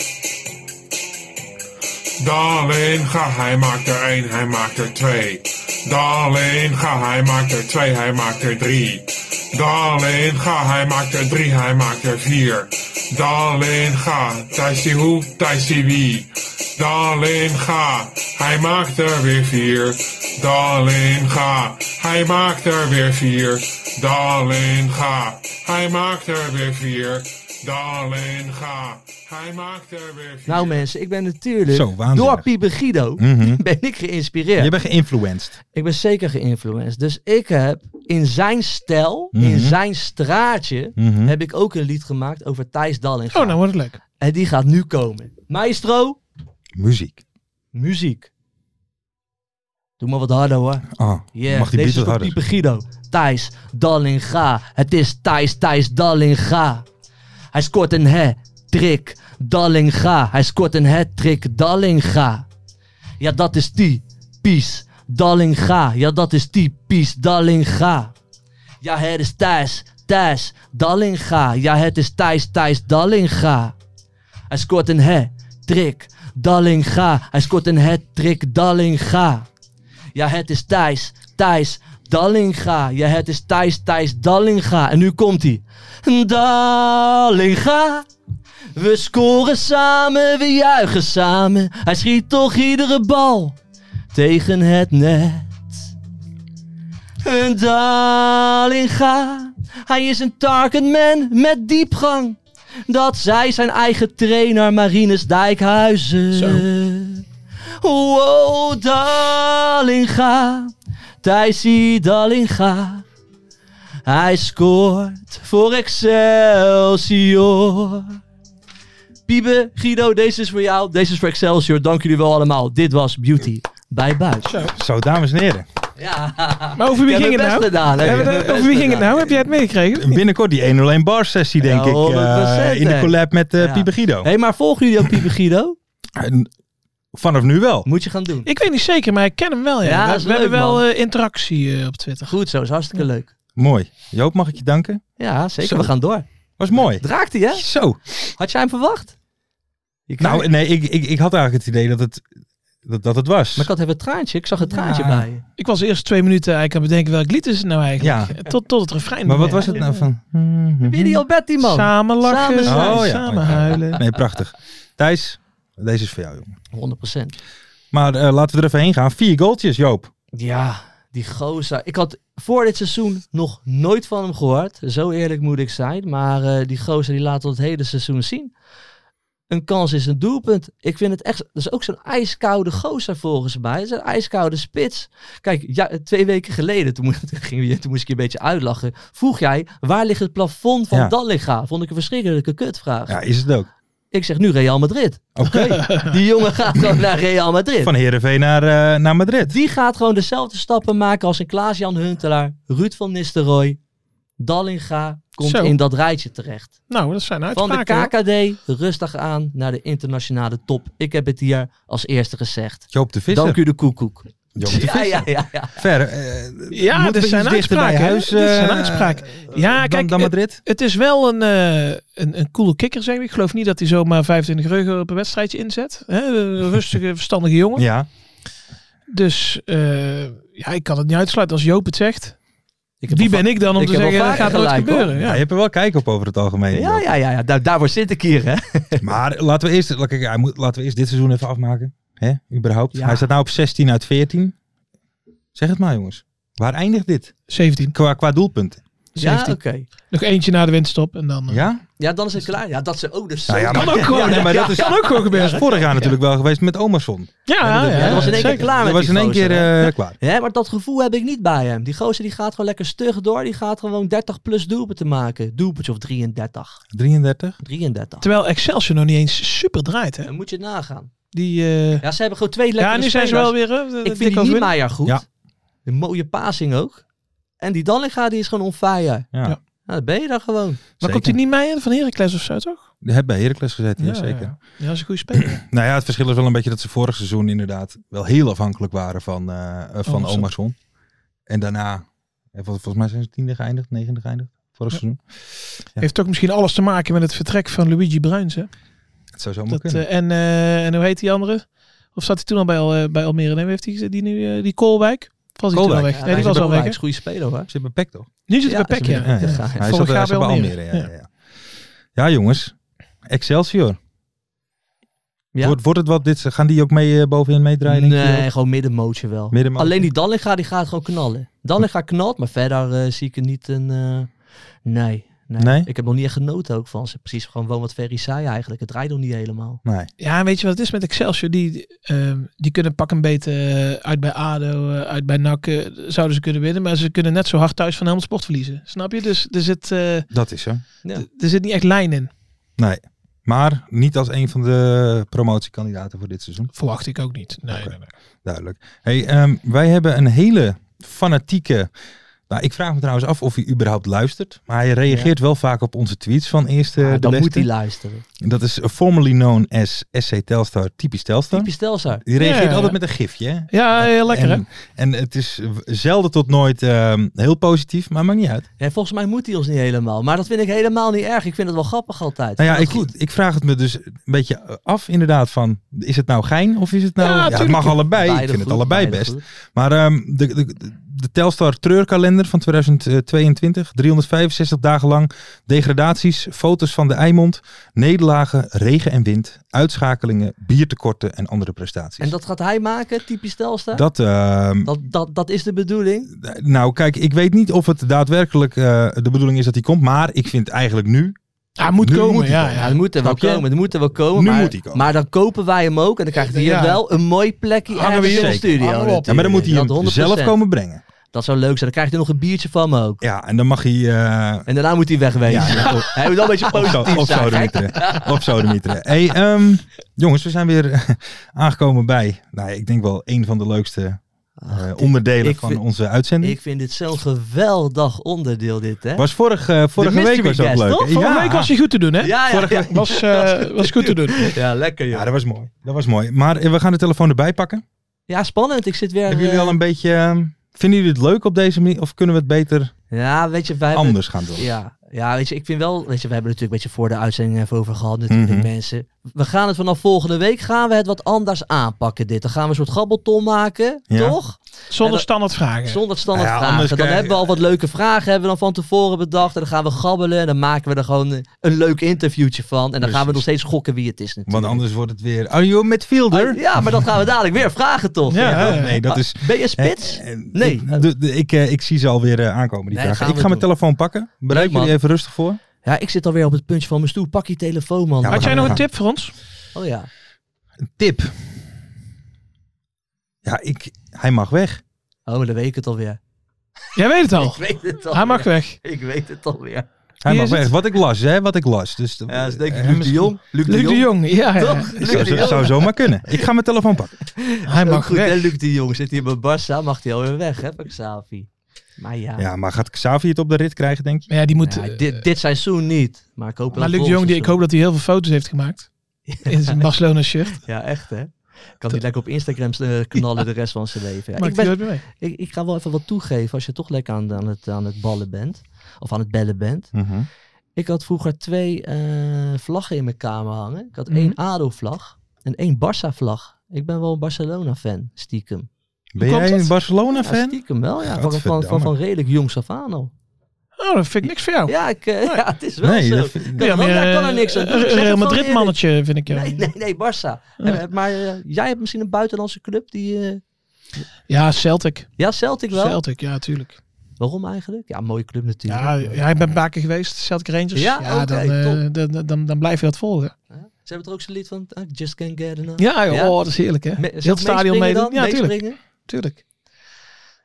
Speaker 5: Daarleen ga, hij maakt er één, hij maakt er twee. Daarleen ga, hij maakt er twee, hij maakt er drie. Daarleen ga, hij maakt er drie, hij maakt er vier. Daarleen ga, Thijs die hoe, Thijs die wie. Daarleen ga, hij maakt er weer vier. Daarleen ga, hij maakt er weer vier. Daarleen ga, hij maakt er weer vier. Daarleen ga, hij maakt er weer vier.
Speaker 3: Nou mensen, ik ben natuurlijk
Speaker 2: Zo, waanzinnig.
Speaker 3: door Piebe Guido
Speaker 2: Mhm.
Speaker 3: ben ik geïnspireerd.
Speaker 2: Je bent geïnfluenced.
Speaker 3: Ik ben zeker geïnfluenced. Dus ik heb in zijn stijl,
Speaker 4: Mhm.
Speaker 3: in zijn straatje,
Speaker 2: Mhm.
Speaker 3: heb ik ook een lied gemaakt over Thijs Dalling.
Speaker 4: Oh, nou wordt het leuk.
Speaker 3: En die gaat nu komen. Maestro,
Speaker 2: Muziek.
Speaker 3: muziek. Doe maar wat harder hoor.
Speaker 2: Ah,
Speaker 3: Yeah,
Speaker 2: mag die
Speaker 3: deze
Speaker 2: Beatles
Speaker 3: is voor
Speaker 2: harder?
Speaker 3: Pieper Guido. Thijs Dallinga. Het is Thijs, Thijs Dallinga. Hij scoort een hat-trick. Dallinga. Hij scoort een hat-trick. Dallinga. Ja, dat is typisch. Dallinga. Ja, dat is typisch. Dallinga. Ja, het is Thijs. Thijs Dallinga. Ja, het is Thijs, Thijs Dallinga. Hij scoort een hat-trick. Dallinga. Hij scoort een hat-trick. Dallinga. Ja, het is Thijs, Thijs Dallinga. Ja, het is Thijs, Thijs Dallinga. En nu komt hij. Dallinga. We scoren samen, we juichen samen. Hij schiet toch iedere bal tegen het net. Dallinga. Hij is een targetman met diepgang. Dat zij zijn eigen trainer Marinus Dijkhuizen. Wow, Dallinga, Thijsie Dallinga. Hij scoort voor Excelsior. Piebe, Guido, deze is voor jou. Deze is voor Excelsior. Dank jullie wel allemaal. Dit was Beauty bij Buis.
Speaker 2: Zo, dames en heren.
Speaker 3: Ja,
Speaker 4: Maar over wie
Speaker 3: ik heb
Speaker 4: ging
Speaker 3: mijn
Speaker 4: het
Speaker 3: best
Speaker 4: nou?
Speaker 3: gedaan, hè.
Speaker 4: Ja,
Speaker 3: Ik
Speaker 4: maar
Speaker 3: heb mijn
Speaker 4: de-
Speaker 3: best
Speaker 4: Over wie ging het
Speaker 3: gedaan.
Speaker 4: nou? Heb jij het meegekregen?
Speaker 2: Binnenkort die 101 bar sessie, denk
Speaker 3: Ja,
Speaker 2: ik. eh,
Speaker 3: 100%,
Speaker 2: in de
Speaker 3: hè.
Speaker 2: collab met eh
Speaker 3: Ja.
Speaker 2: Pieper Guido.
Speaker 3: Hé, maar volgen jullie ook Piebe Guido?
Speaker 2: En Vanaf nu wel.
Speaker 3: Moet je gaan doen.
Speaker 4: Ik weet niet zeker, maar ik ken hem wel. Ja.
Speaker 3: Ja,
Speaker 4: we
Speaker 3: dat is
Speaker 4: we hebben
Speaker 3: leuk,
Speaker 4: wel
Speaker 3: man.
Speaker 4: eh, interactie eh, op Twitter.
Speaker 3: Goed zo, is hartstikke leuk.
Speaker 2: Mooi. Joop, mag ik je danken?
Speaker 3: Ja, zeker.
Speaker 2: Zo.
Speaker 3: We gaan door.
Speaker 2: Was mooi.
Speaker 3: Raakte je?
Speaker 2: Zo.
Speaker 3: Had jij hem verwacht? Je
Speaker 2: Nou, nee, ik, ik, ik had eigenlijk het idee dat het, dat, dat het was.
Speaker 3: Maar ik had even een traantje. Ik zag een traantje
Speaker 2: Ja.
Speaker 4: Nou.
Speaker 3: bij je.
Speaker 4: Ik was eerst twee minuten eigenlijk aan het bedenken welk lied is het nou eigenlijk. Tot, tot het refrein.
Speaker 2: Maar wat
Speaker 4: Ja.
Speaker 2: was het nou van?
Speaker 3: Billy Alberti, man.
Speaker 4: Samen lachen,
Speaker 3: Samen
Speaker 4: samen,
Speaker 3: zijn.
Speaker 2: Oh, ja.
Speaker 4: huilen.
Speaker 2: Nee, prachtig. Thijs, deze is voor jou, jongen.
Speaker 3: 100%.
Speaker 2: Maar eh, laten we er even heen gaan. Vier goaltjes, Joop.
Speaker 3: Ja, die gozer. Ik had voor dit seizoen nog nooit van hem gehoord. Zo eerlijk moet ik zijn. Maar eh, die gozer die laat ons het hele seizoen zien. Een kans is een doelpunt. Ik vind het echt... Dat is ook zo'n ijskoude gozer volgens mij. Dat is een ijskoude spits. Kijk, ja, twee weken geleden, toen, mo- toen, ging je, toen moest ik je een beetje uitlachen. Vroeg jij, waar ligt het plafond van
Speaker 2: Ja.
Speaker 3: Dallinga? Vond ik een verschrikkelijke kutvraag.
Speaker 2: Ja, is het ook.
Speaker 3: Ik zeg nu Real Madrid.
Speaker 2: Oké.
Speaker 3: Die jongen gaat gewoon naar Real Madrid.
Speaker 2: Van Heerenveen naar, eh, naar Madrid.
Speaker 3: Die gaat gewoon dezelfde stappen maken als een Klaas-Jan Huntelaar, Ruud van Nistelrooy, Dallinga komt
Speaker 4: Zo.
Speaker 3: in dat rijtje terecht.
Speaker 4: Nou, dat zijn
Speaker 3: Van de
Speaker 4: uitspraken. hoor.
Speaker 3: KKD rustig aan naar de internationale top. Ik heb het hier als eerste gezegd.
Speaker 2: Joop de Visser.
Speaker 3: Dank u de koekoek.
Speaker 2: Joop de Visser.
Speaker 3: Ja, ja, ja, ja.
Speaker 2: Ver. eh,
Speaker 4: Ja,
Speaker 2: moet
Speaker 4: dit
Speaker 2: iets
Speaker 4: zijn
Speaker 2: dichter
Speaker 4: uitspraken.
Speaker 2: bij
Speaker 4: hè.
Speaker 2: huis,
Speaker 4: Dit zijn
Speaker 2: eh,
Speaker 4: uitspraken. Ja,
Speaker 2: dan-
Speaker 4: kijk,
Speaker 2: Dan
Speaker 4: eh,
Speaker 2: Madrid.
Speaker 4: Het is wel een, eh, een, een coole kikker, zeg ik. Ik geloof niet dat hij zomaar 25 euro per wedstrijdje inzet. Hè? Een rustige, verstandige jongen.
Speaker 2: Ja.
Speaker 4: Dus eh, ja, ik kan het niet uitsluiten als Joop het zegt.
Speaker 3: Ik heb
Speaker 4: Wie
Speaker 3: al
Speaker 4: ben ik dan om
Speaker 3: ik
Speaker 4: te
Speaker 3: heb al
Speaker 4: zeggen, dat
Speaker 3: vaker
Speaker 4: gaat nooit
Speaker 3: gelijk, hoor.
Speaker 4: gebeuren?
Speaker 2: Ja,
Speaker 4: Ja.
Speaker 2: je hebt er wel kijk op over het algemeen.
Speaker 3: Ja, ja, ja, ja. Daar, daarvoor zit ik hier, hè.
Speaker 2: Maar laten we, eerst, kijk, hij moet- laten we eerst dit seizoen even afmaken. Hè, überhaupt.
Speaker 3: Ja.
Speaker 2: Hij staat nou op 16 uit 14. Zeg het maar jongens. Waar eindigt dit?
Speaker 4: 17.
Speaker 2: Qua, qua doelpunten.
Speaker 3: Ja,
Speaker 4: 17.
Speaker 3: oké.
Speaker 4: Nog eentje na de winststop en dan... eh,
Speaker 2: Ja?
Speaker 3: Ja, dan is het klaar. Ja, dat ze ook dus zo...
Speaker 2: Nou ja,
Speaker 3: kan
Speaker 2: maar-
Speaker 3: ook gewoon.
Speaker 2: Ja, nee, maar dat is-
Speaker 3: kan ook gewoon
Speaker 2: Dat is vorig jaar natuurlijk wel geweest met Omerson.
Speaker 4: Ja,
Speaker 3: Ja, dat was in één keer
Speaker 4: zeker.
Speaker 3: klaar
Speaker 2: Dat
Speaker 3: met
Speaker 2: was
Speaker 3: die
Speaker 2: in één
Speaker 3: gozer,
Speaker 2: keer
Speaker 3: hè.
Speaker 2: eh, klaar.
Speaker 3: Hè, maar dat gevoel heb ik niet bij hem. Die gozer die gaat gewoon lekker stug door. Die gaat gewoon 30 plus doelpunten maken. Doelpuntjes of 33.
Speaker 2: 33.
Speaker 3: 33.
Speaker 4: Terwijl Excelsior nog niet eens super draait, hè?
Speaker 3: Dan moet je het nagaan.
Speaker 4: Die, eh,
Speaker 3: Ja, ze hebben gewoon twee lekkere
Speaker 4: ja, nu zijn ze
Speaker 3: spelers.
Speaker 4: wel weer... eh,
Speaker 3: Ik
Speaker 4: dik
Speaker 3: vind die
Speaker 4: als winnen.
Speaker 3: Niemeyer goed.
Speaker 2: Ja.
Speaker 3: Een mooie passing ook. En die Dallinga die is gewoon on fire.
Speaker 2: Ja.
Speaker 4: Ja.
Speaker 3: Nou, dan ben je daar gewoon.
Speaker 4: Maar komt die Niemeyer van Heracles of zo, toch?
Speaker 2: Die hebben bij Heracles gezeten, ja, zeker.
Speaker 4: Ja, ja, dat is een goede speler.
Speaker 2: Nou ja, het verschil is wel een beetje dat ze vorig seizoen inderdaad wel heel afhankelijk waren van, eh eh, van
Speaker 4: Omerson.
Speaker 2: Omerson. En daarna, eh, vol- volgens mij zijn ze tiende geëindigd, negende geëindigd vorig seizoen.
Speaker 4: Heeft ook misschien alles te maken met het vertrek van Luigi Bruins, hè?
Speaker 2: Het zou zomaar
Speaker 4: Dat,
Speaker 2: kunnen.
Speaker 4: eh, en, eh, en hoe heet die andere? Of zat hij toen al bij, Al- eh, bij Almere? Nee, wie heeft die, die nu eh, die Koolwijk? Of Was hij toen al
Speaker 2: Koolwijk.
Speaker 3: Ja,
Speaker 4: weg? nee, die was al weg. hè?
Speaker 3: goede speler hoor.
Speaker 2: Ze hebben pek toch?
Speaker 4: Nu zit hij
Speaker 3: Ja,
Speaker 4: bij
Speaker 3: ze
Speaker 4: Peck, ja.
Speaker 3: hebben-
Speaker 2: Ja,
Speaker 3: Ja,
Speaker 2: Hij
Speaker 4: vorig
Speaker 2: zat,
Speaker 4: jaar
Speaker 2: hij zat
Speaker 4: bij
Speaker 2: bij
Speaker 4: Almere.
Speaker 2: Almere. Ja, ja. Ja. Ja, jongens. Excelsior.
Speaker 3: Ja.
Speaker 2: Wordt, wordt het wat dit? Gaan die ook mee eh, bovenin meedraaien? denk je?
Speaker 3: Nee, gewoon middenmootje wel.
Speaker 2: Middenmootje.
Speaker 3: Alleen die Dallinga die gaat gewoon knallen. Dallinga knalt, maar verder eh, zie ik er niet een... eh, nee, nee.
Speaker 2: Nee?
Speaker 3: Ik heb nog niet echt genoten ook van ze. Precies gewoon wat Ferry zei eigenlijk. Het draait nog niet helemaal.
Speaker 2: Nee.
Speaker 4: Ja, en weet je wat het is met Excelsior? Die, ehm, die kunnen pak een beet eh, uit bij ADO, eh, uit bij NAC. eh, zouden ze kunnen winnen, maar ze kunnen net zo hard thuis van Helmond Sport verliezen. Snap je? Dus er zit, eh,
Speaker 2: Dat is zo.
Speaker 3: Ja.
Speaker 4: er zit niet echt lijn in.
Speaker 2: Nee. Maar niet als een van de promotiekandidaten voor dit seizoen.
Speaker 4: Verwacht ik ook niet. Nee, nee, nee.
Speaker 2: Duidelijk. Hey, ehm, wij hebben een hele fanatieke. Nou, ik vraag me trouwens af of hij überhaupt luistert. Maar hij reageert wel vaak op onze tweets van eerste.
Speaker 3: Maar
Speaker 2: de
Speaker 3: Ah, dan
Speaker 2: beste.
Speaker 3: moet hij luisteren.
Speaker 2: Dat is formerly known as SC Telstar, typisch Telstar.
Speaker 3: Typisch Telstar.
Speaker 2: Die reageert
Speaker 4: Ja, ja.
Speaker 2: altijd met een gifje. Hè?
Speaker 4: Ja, heel lekker
Speaker 2: en, en het is zelden tot nooit ehm, heel positief, maar maakt niet uit.
Speaker 3: Ja, volgens mij moet hij ons niet helemaal. Maar dat vind ik helemaal niet erg. Ik vind het wel grappig altijd.
Speaker 2: Nou ja,
Speaker 3: Maar
Speaker 2: ik,
Speaker 3: goed.
Speaker 2: ik vraag het me dus een beetje af inderdaad van, is het nou gein of is het nou...
Speaker 4: Ja,
Speaker 2: het
Speaker 4: tuurlijk.
Speaker 2: mag allebei, ik
Speaker 3: Beide
Speaker 2: vind het
Speaker 3: goed,
Speaker 2: allebei
Speaker 3: beide
Speaker 2: best.
Speaker 3: goed.
Speaker 2: Maar ehm, de, de, de Telstar treurkalender van 2022, 365 dagen lang, degradaties, foto's van de Eimond, nederlagen, regen en wind, uitschakelingen, biertekorten en andere prestaties.
Speaker 3: En dat eh? gaat hij maken, typisch Telstar?
Speaker 2: dat, ehm,
Speaker 3: Dat, dat, dat is de bedoeling.
Speaker 2: nou kijk, ik weet niet of het daadwerkelijk eh, de bedoeling is dat hij komt, maar ik vind eigenlijk nu,
Speaker 4: Hij moet
Speaker 2: Nu
Speaker 4: komen,
Speaker 2: moet hij
Speaker 4: ja,
Speaker 2: komen.
Speaker 3: Ja,
Speaker 4: Nou ja.
Speaker 3: het moet er wel
Speaker 2: Snap je?
Speaker 3: komen. Het moet er wel komen.
Speaker 2: Nu
Speaker 3: maar,
Speaker 2: moet hij komen.
Speaker 3: maar dan kopen wij hem ook. En dan krijgt hij hier
Speaker 4: Ja.
Speaker 3: wel een mooi plekje
Speaker 2: Hangen we
Speaker 3: ergens
Speaker 2: hier
Speaker 3: in de
Speaker 2: zeker.
Speaker 3: studio.
Speaker 4: Hangen we op.
Speaker 3: natuurlijk.
Speaker 2: ja, maar dan moet hij
Speaker 3: Dat
Speaker 2: hem
Speaker 3: 100%.
Speaker 2: zelf komen brengen.
Speaker 3: Dat zou leuk zijn. Dan krijgt hij nog een biertje van me ook.
Speaker 2: Ja, en dan mag hij... eh,
Speaker 3: En daarna moet hij wegwezen.
Speaker 2: Ja,
Speaker 3: Hij moet wel een beetje
Speaker 2: Op zo,
Speaker 3: positief
Speaker 2: op
Speaker 3: zijn.
Speaker 2: zo
Speaker 3: Kijk,
Speaker 2: Op zo Hey, ehm, jongens, we zijn weer aangekomen bij, nou, ik denk wel een van de leukste eh, onderdelen
Speaker 3: ik
Speaker 2: van
Speaker 3: vind-
Speaker 2: onze uitzending.
Speaker 3: Ik vind dit zo'n geweldig onderdeel dit, hè?
Speaker 2: was vorig, eh, vorige
Speaker 3: mystery
Speaker 2: week was dat
Speaker 3: guest,
Speaker 2: leuk.
Speaker 3: toch?
Speaker 2: hè?
Speaker 4: Oh, Vorige
Speaker 2: Ja.
Speaker 4: week was hij goed te doen, hè?
Speaker 3: Ja, ja,
Speaker 2: Vorige
Speaker 3: ja.
Speaker 2: week-
Speaker 4: Was, eh, was goed te doen.
Speaker 3: Ja, lekker
Speaker 2: Ja,
Speaker 3: joh.
Speaker 2: dat was mooi. Dat was mooi. Maar eh, we gaan de telefoon erbij pakken.
Speaker 3: Ja, spannend. Ik zit weer...
Speaker 2: Hebben jullie
Speaker 3: eh,
Speaker 2: al een beetje, ehm, vinden jullie het leuk op deze manier of kunnen we het beter
Speaker 3: eh, Ja, weet je, wij hebben-
Speaker 2: anders gaan doen?
Speaker 3: Ja, ja, weet je, ik vind wel, weet je, we hebben er natuurlijk een beetje voor de uitzending even over gehad natuurlijk
Speaker 2: Mhm.
Speaker 3: mensen. We gaan het vanaf volgende week gaan we het wat anders aanpakken dit. Dan gaan we een soort gabbelton maken,
Speaker 2: Ja.
Speaker 3: toch? En
Speaker 4: Zonder
Speaker 3: dat-
Speaker 4: standaard vragen.
Speaker 3: Zonder standaard
Speaker 2: Ja, anders
Speaker 3: vragen. Dan
Speaker 2: krijg-
Speaker 3: hebben we al wat leuke vragen hebben we dan van tevoren bedacht en dan gaan we gabbelen en dan maken we er gewoon eh, een leuk interviewtje van en dan gaan we nog steeds gokken wie het is natuurlijk.
Speaker 2: Want anders wordt het weer, are you a midfielder?
Speaker 3: Ah, Ja, maar dat gaan we dadelijk weer vragen toch? Ah,
Speaker 4: Ja,
Speaker 2: Ja,
Speaker 4: ja.
Speaker 2: nee, dat is...
Speaker 3: Ben je spits?
Speaker 2: Eh, eh,
Speaker 3: Nee.
Speaker 2: Ik, de- de- ik, eh, ik zie ze alweer eh, aankomen, die
Speaker 3: Nee,
Speaker 2: vragen.
Speaker 3: gaan
Speaker 2: Ik
Speaker 3: we
Speaker 2: ga mijn
Speaker 3: doen.
Speaker 2: telefoon pakken. Bereid
Speaker 3: Leuk, man.
Speaker 2: jullie even rustig voor.
Speaker 3: Ja, ik zit alweer op het puntje van mijn stoel. Pak je telefoon man.
Speaker 2: Ja,
Speaker 4: Had jij nog een
Speaker 2: Ja.
Speaker 4: tip voor ons?
Speaker 3: Oh ja.
Speaker 2: Een tip. Ja, ik, hij mag weg.
Speaker 3: Oh, dan weet ik het alweer.
Speaker 4: Jij weet het al.
Speaker 3: Ik weet het alweer.
Speaker 4: Hij mag weg.
Speaker 3: Ik weet het alweer.
Speaker 2: Hij
Speaker 4: Wie
Speaker 2: mag
Speaker 4: is
Speaker 2: weg. Wat ik las, hè? Wat ik las. Dus,
Speaker 3: Ja, dat is denk ik
Speaker 2: eh,
Speaker 3: Luc de
Speaker 2: misschien-
Speaker 3: Jong.
Speaker 4: Luc de Jong, ja. ja.
Speaker 3: Toch? Luc
Speaker 2: Zou,
Speaker 3: de Jong.
Speaker 2: zou zomaar kunnen. Ik ga mijn telefoon pakken.
Speaker 4: Hij
Speaker 3: Ook
Speaker 4: mag
Speaker 3: goed, hè,
Speaker 4: weg.
Speaker 3: Luc de Jong zit hier bij Barça. Mag hij alweer weg, hè, bij Xavi. Maar ja,
Speaker 2: Ja, maar gaat Xavi het op de rit krijgen, denk je?
Speaker 4: Maar ja, die moet...
Speaker 3: Ja,
Speaker 4: eh,
Speaker 3: dit, dit seizoen niet. Maar ik hoop wel
Speaker 4: maar Luc de
Speaker 3: volgend
Speaker 4: Jong, die, ik hoop dat hij heel veel foto's heeft gemaakt. In zijn Barcelona shirt.
Speaker 3: seizoen. Ja, echt, hè. Kan hij lekker op Instagram eh, knallen de rest van zijn leven. Ja,
Speaker 4: Maakt
Speaker 3: ik,
Speaker 4: hij
Speaker 3: ben,
Speaker 4: nooit meer mee.
Speaker 3: ik, ik ga wel even wat toegeven als je toch lekker aan, aan, het, aan het ballen bent. Of aan het bellen bent.
Speaker 2: Mhm.
Speaker 3: Ik had vroeger twee eh, vlaggen in mijn kamer hangen. Ik had
Speaker 4: Mhm.
Speaker 3: één ADO-vlag en één Barça-vlag. Ik ben wel een Barcelona-fan, stiekem.
Speaker 2: Ben
Speaker 4: Hoe
Speaker 2: jij
Speaker 4: komt
Speaker 2: een
Speaker 4: dat?
Speaker 3: Ja,
Speaker 2: Barcelona-fan?
Speaker 3: stiekem wel, ja. Van, van, van, van
Speaker 2: Godverdamme.
Speaker 3: redelijk jongs af aan al.
Speaker 4: Oh, dat vind ik niks voor jou.
Speaker 3: Ja, ik, eh, ja, het is wel
Speaker 2: Nee,
Speaker 3: zo.
Speaker 2: dat vind-
Speaker 3: Kan,
Speaker 4: Ja,
Speaker 3: wel,
Speaker 4: meer,
Speaker 3: ja, kan er
Speaker 4: eh,
Speaker 3: niks aan doen. Ik zeg het
Speaker 4: Real
Speaker 3: gewoon
Speaker 4: Madrid
Speaker 3: eerlijk.
Speaker 4: mannetje vind ik jou.
Speaker 3: Nee, nee, nee, Barça. Eh, Maar eh, jij hebt misschien een buitenlandse club die... eh,
Speaker 4: Ja, Celtic.
Speaker 3: ja, Celtic wel.
Speaker 4: Celtic, ja, tuurlijk.
Speaker 3: Waarom eigenlijk? Ja, mooie club natuurlijk.
Speaker 4: Ja, eh, ja, ik ben een paar keer geweest, Celtic Rangers.
Speaker 3: Ja, oké,
Speaker 4: dan, eh, dan, dan, dan blijf je dat volgen.
Speaker 3: Ze hebben er ook zo'n lied van... I just can't get enough.
Speaker 4: Ja, joh,
Speaker 3: Ja.
Speaker 4: Oh, dat is heerlijk, hè?
Speaker 3: Me-
Speaker 4: Heel
Speaker 3: zelf
Speaker 4: het stadion
Speaker 3: meespringen
Speaker 4: meedoen.
Speaker 3: dan?
Speaker 4: Ja, tuurlijk,
Speaker 3: Meespringen?
Speaker 4: tuurlijk.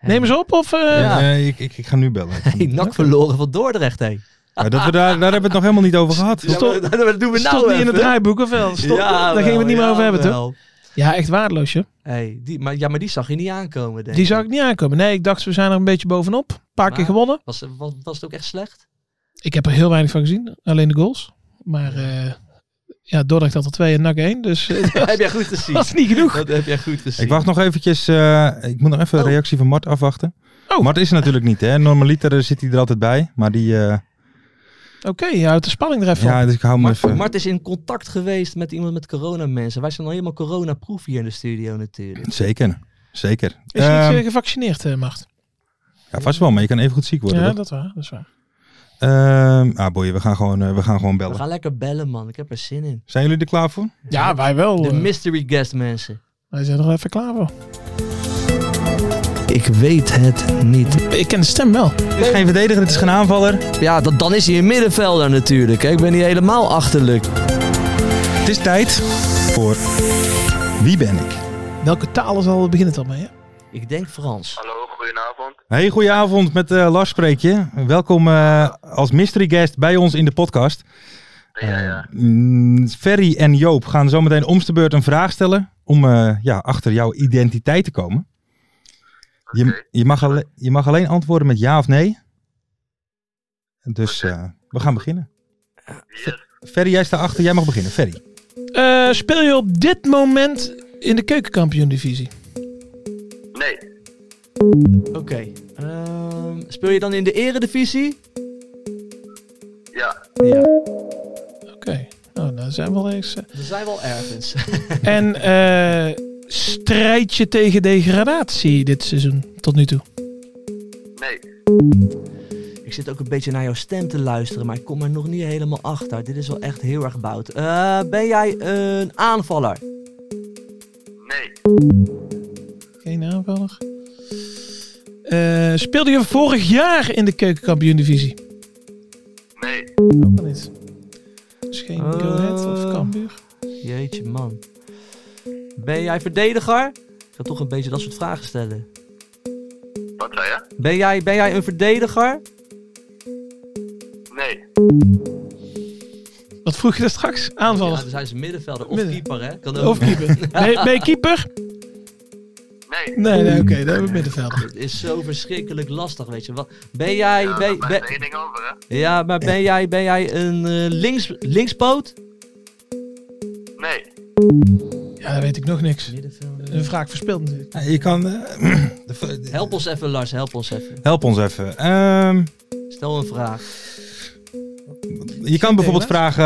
Speaker 4: Neem eens op, of... eh,
Speaker 3: Ja.
Speaker 2: Eh, ik, ik, ik ga nu bellen.
Speaker 3: Hey, nak verloren van Dordrecht, hé.
Speaker 2: Maar dat we daar, daar hebben we het nog helemaal niet over gehad.
Speaker 3: Ja, maar dat- dat doen we
Speaker 4: Stond
Speaker 3: nou
Speaker 4: niet in het
Speaker 3: even.
Speaker 4: draaiboek, of wel? Stond, daar gingen we het niet meer over hebben, toch? Ja, echt waardeloos, joh.
Speaker 3: Hey, die, maar, ja, maar die zag je niet aankomen, denk
Speaker 4: Die
Speaker 3: ik.
Speaker 4: zou ik niet aankomen. Nee, ik dacht, we zijn er een beetje bovenop. Een paar keer
Speaker 3: Maar-
Speaker 4: gewonnen.
Speaker 3: Was, was, was het ook echt slecht?
Speaker 4: Ik heb er heel weinig van gezien. Alleen de goals. Maar eh ja, Dordrecht had er twee en NAC één. Dus eh,
Speaker 3: dat heb jij goed gezien.
Speaker 4: dat is niet genoeg.
Speaker 3: Dat heb jij goed gezien.
Speaker 2: Ik wacht nog eventjes. eh, ik moet nog even
Speaker 3: Oh.
Speaker 2: een reactie van Mart afwachten.
Speaker 4: Oh.
Speaker 2: Mart is er natuurlijk niet, hè? Normaliter eh, zit hij er altijd bij. Maar die. eh,
Speaker 4: Oké, je houdt de spanning er even van.
Speaker 2: ja, dus ik hou me
Speaker 3: Mart,
Speaker 2: even.
Speaker 3: Mart is in contact geweest met iemand met corona mensen. Wij zijn al helemaal coronaproof hier in de studio natuurlijk.
Speaker 2: Zeker. Zeker.
Speaker 4: Is hij niet
Speaker 2: Ehm,
Speaker 4: eh, gevaccineerd, eh, Macht?
Speaker 2: ja, vast wel, maar je kan even goed ziek worden.
Speaker 4: Ja,
Speaker 2: toch?
Speaker 4: dat, waar, dat is waar.
Speaker 2: Ehm, ah, boy, we gaan gewoon, eh, we gaan gewoon
Speaker 3: We
Speaker 2: bellen.
Speaker 3: gaan lekker bellen, man. Ik heb er zin in.
Speaker 2: Zijn jullie er klaar voor?
Speaker 4: Ja, wij wel.
Speaker 3: De
Speaker 4: eh.
Speaker 3: mystery guest, mensen.
Speaker 4: wij zijn er even klaar voor.
Speaker 3: Ik weet het niet.
Speaker 4: Ik ken de stem wel.
Speaker 2: Het is geen verdediger, het is geen aanvaller.
Speaker 3: Ja, dat, dan is hij een middenvelder natuurlijk. Hè. Ik ben niet helemaal achterlijk.
Speaker 2: Het is tijd voor Wie ben ik?
Speaker 4: Welke talen zal begint het al mee? Hè?
Speaker 3: Ik denk Frans.
Speaker 6: Hallo, goedenavond.
Speaker 2: Hey, goedenavond met eh, Lars spreek je. Welkom eh, als mystery guest bij ons in de podcast.
Speaker 6: Ja, ja.
Speaker 2: Mm, Ferry en Joop gaan zometeen om de beurt een vraag stellen om eh, ja, achter jouw identiteit te komen. Je, je, mag alle- je mag alleen antwoorden met ja of nee. Dus eh, we gaan beginnen.
Speaker 6: Yes.
Speaker 2: Ferry, jij staat achter. Jij mag beginnen. Ferry.
Speaker 4: Eh, speel je op dit moment in de keukenkampioen-divisie?
Speaker 6: Nee,
Speaker 3: Oké. ehm, speel je dan in de eredivisie?
Speaker 6: ja.
Speaker 3: Ja.
Speaker 4: Oké. Nou, daar zijn we al eens. eh.
Speaker 3: We zijn wel ergens.
Speaker 4: En eh strijd je tegen degradatie dit seizoen tot nu toe?
Speaker 6: Nee,
Speaker 3: Ik zit ook een beetje naar jouw stem te luisteren, maar ik kom er nog niet helemaal achter. Dit is wel echt heel erg bout. Eh, ben jij een aanvaller?
Speaker 6: nee,
Speaker 4: Geen aanvaller. Eh, speelde je vorig jaar in de keukenkampioen-divisie?
Speaker 6: nee,
Speaker 4: Ook al niet. Dus geen
Speaker 3: Eh.
Speaker 4: Go Ahead of Cambuur?
Speaker 3: Jeetje man. Ben jij verdediger? Ik ga toch een beetje dat soort vragen stellen.
Speaker 6: wat zei je?
Speaker 3: Ben jij, ben jij een verdediger?
Speaker 6: Nee,
Speaker 4: Wat vroeg je daar straks? Aanvaller.
Speaker 3: Ja, dan zijn ze middenvelder of
Speaker 4: Midden-
Speaker 3: keeper hè? Kan ook.
Speaker 4: Of keeper. Ben je, ben je keeper?
Speaker 6: nee.
Speaker 4: Nee, nee, oké. daar hebben we middenvelder.
Speaker 3: Het is zo verschrikkelijk lastig, weet je. Wat, ben jij...
Speaker 6: Ja,
Speaker 3: ben,
Speaker 6: daar
Speaker 3: ben-
Speaker 6: ben één ding over, hè?
Speaker 3: ja, maar ben jij, ben jij een eh, links, linkspoot?
Speaker 6: Nee,
Speaker 4: Ja, daar weet ik nog niks.
Speaker 3: Middenvelder.
Speaker 4: Een vraag verspeeld natuurlijk.
Speaker 2: Je kan... eh,
Speaker 3: Help ons even Lars, help ons even.
Speaker 2: Help ons even. Ehm,
Speaker 3: Stel een vraag.
Speaker 2: je kan bijvoorbeeld vragen,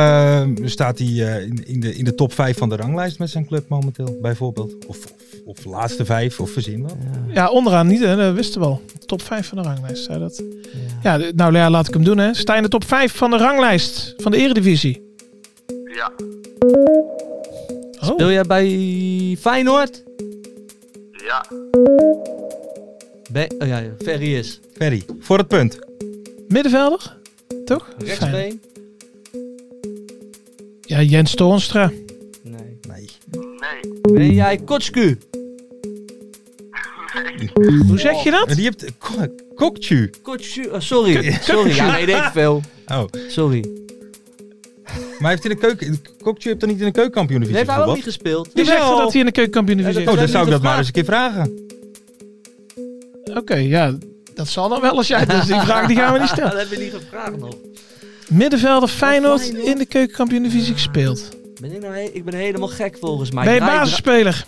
Speaker 2: eh, staat hij eh, in, in, de, in de top 5 van de ranglijst met zijn club momenteel, bijvoorbeeld? Of, of, of laatste 5, of verzin wat?
Speaker 4: Ja, onderaan niet, hè? dat wisten we al. Top 5 van de ranglijst, zei dat. Ja, d- nou ja, laat ik hem doen. Hè. Sta je in de top 5 van de ranglijst van de Eredivisie?
Speaker 6: ja,
Speaker 3: Wil
Speaker 4: Oh,
Speaker 3: jij bij Feyenoord?
Speaker 6: ja,
Speaker 3: Ben, oh ja, ja, Ferry is.
Speaker 2: Ferry, voor het punt.
Speaker 4: middenvelder? Toch? Fijn.
Speaker 3: Rechtsbeen?
Speaker 4: Ja, Jens Toornstra.
Speaker 3: Nee.
Speaker 2: Nee.
Speaker 6: nee,
Speaker 3: Ben jij Kotsku?
Speaker 4: Hoe zeg je dat?
Speaker 2: Die hebt ko- kokchu.
Speaker 3: Kotsku? oh, sorry. Sorry, ja, nee, denk ik veel.
Speaker 2: Oh,
Speaker 3: Sorry.
Speaker 2: maar heeft in de keuken. Kokchu heeft dan niet in de keukenkampioen
Speaker 3: Die heeft hij ook niet
Speaker 2: bijvoorbeeld?
Speaker 3: gespeeld.
Speaker 4: Die zegt
Speaker 2: Jawel.
Speaker 4: dat hij in de keukenkampioen-divisie
Speaker 3: Ja,
Speaker 2: Oh,
Speaker 3: dat-
Speaker 4: is.
Speaker 2: dan
Speaker 3: heeft
Speaker 2: zou ik
Speaker 3: hij
Speaker 2: dat maar
Speaker 3: gevraagd.
Speaker 2: eens een keer vragen.
Speaker 4: Oké, ja, dat zal dan wel als jij. Dus die vraag die gaan we niet
Speaker 3: Dat
Speaker 4: stellen.
Speaker 3: hebben we niet gevraagd nog.
Speaker 4: Middenvelder Feyenoord
Speaker 3: Feyenoord.
Speaker 4: in de keukenkampioen-divisie gespeeld.
Speaker 3: Ben ik, nou he- ik ben helemaal gek volgens mij.
Speaker 4: Ben je
Speaker 3: Draai-
Speaker 4: basisspeler?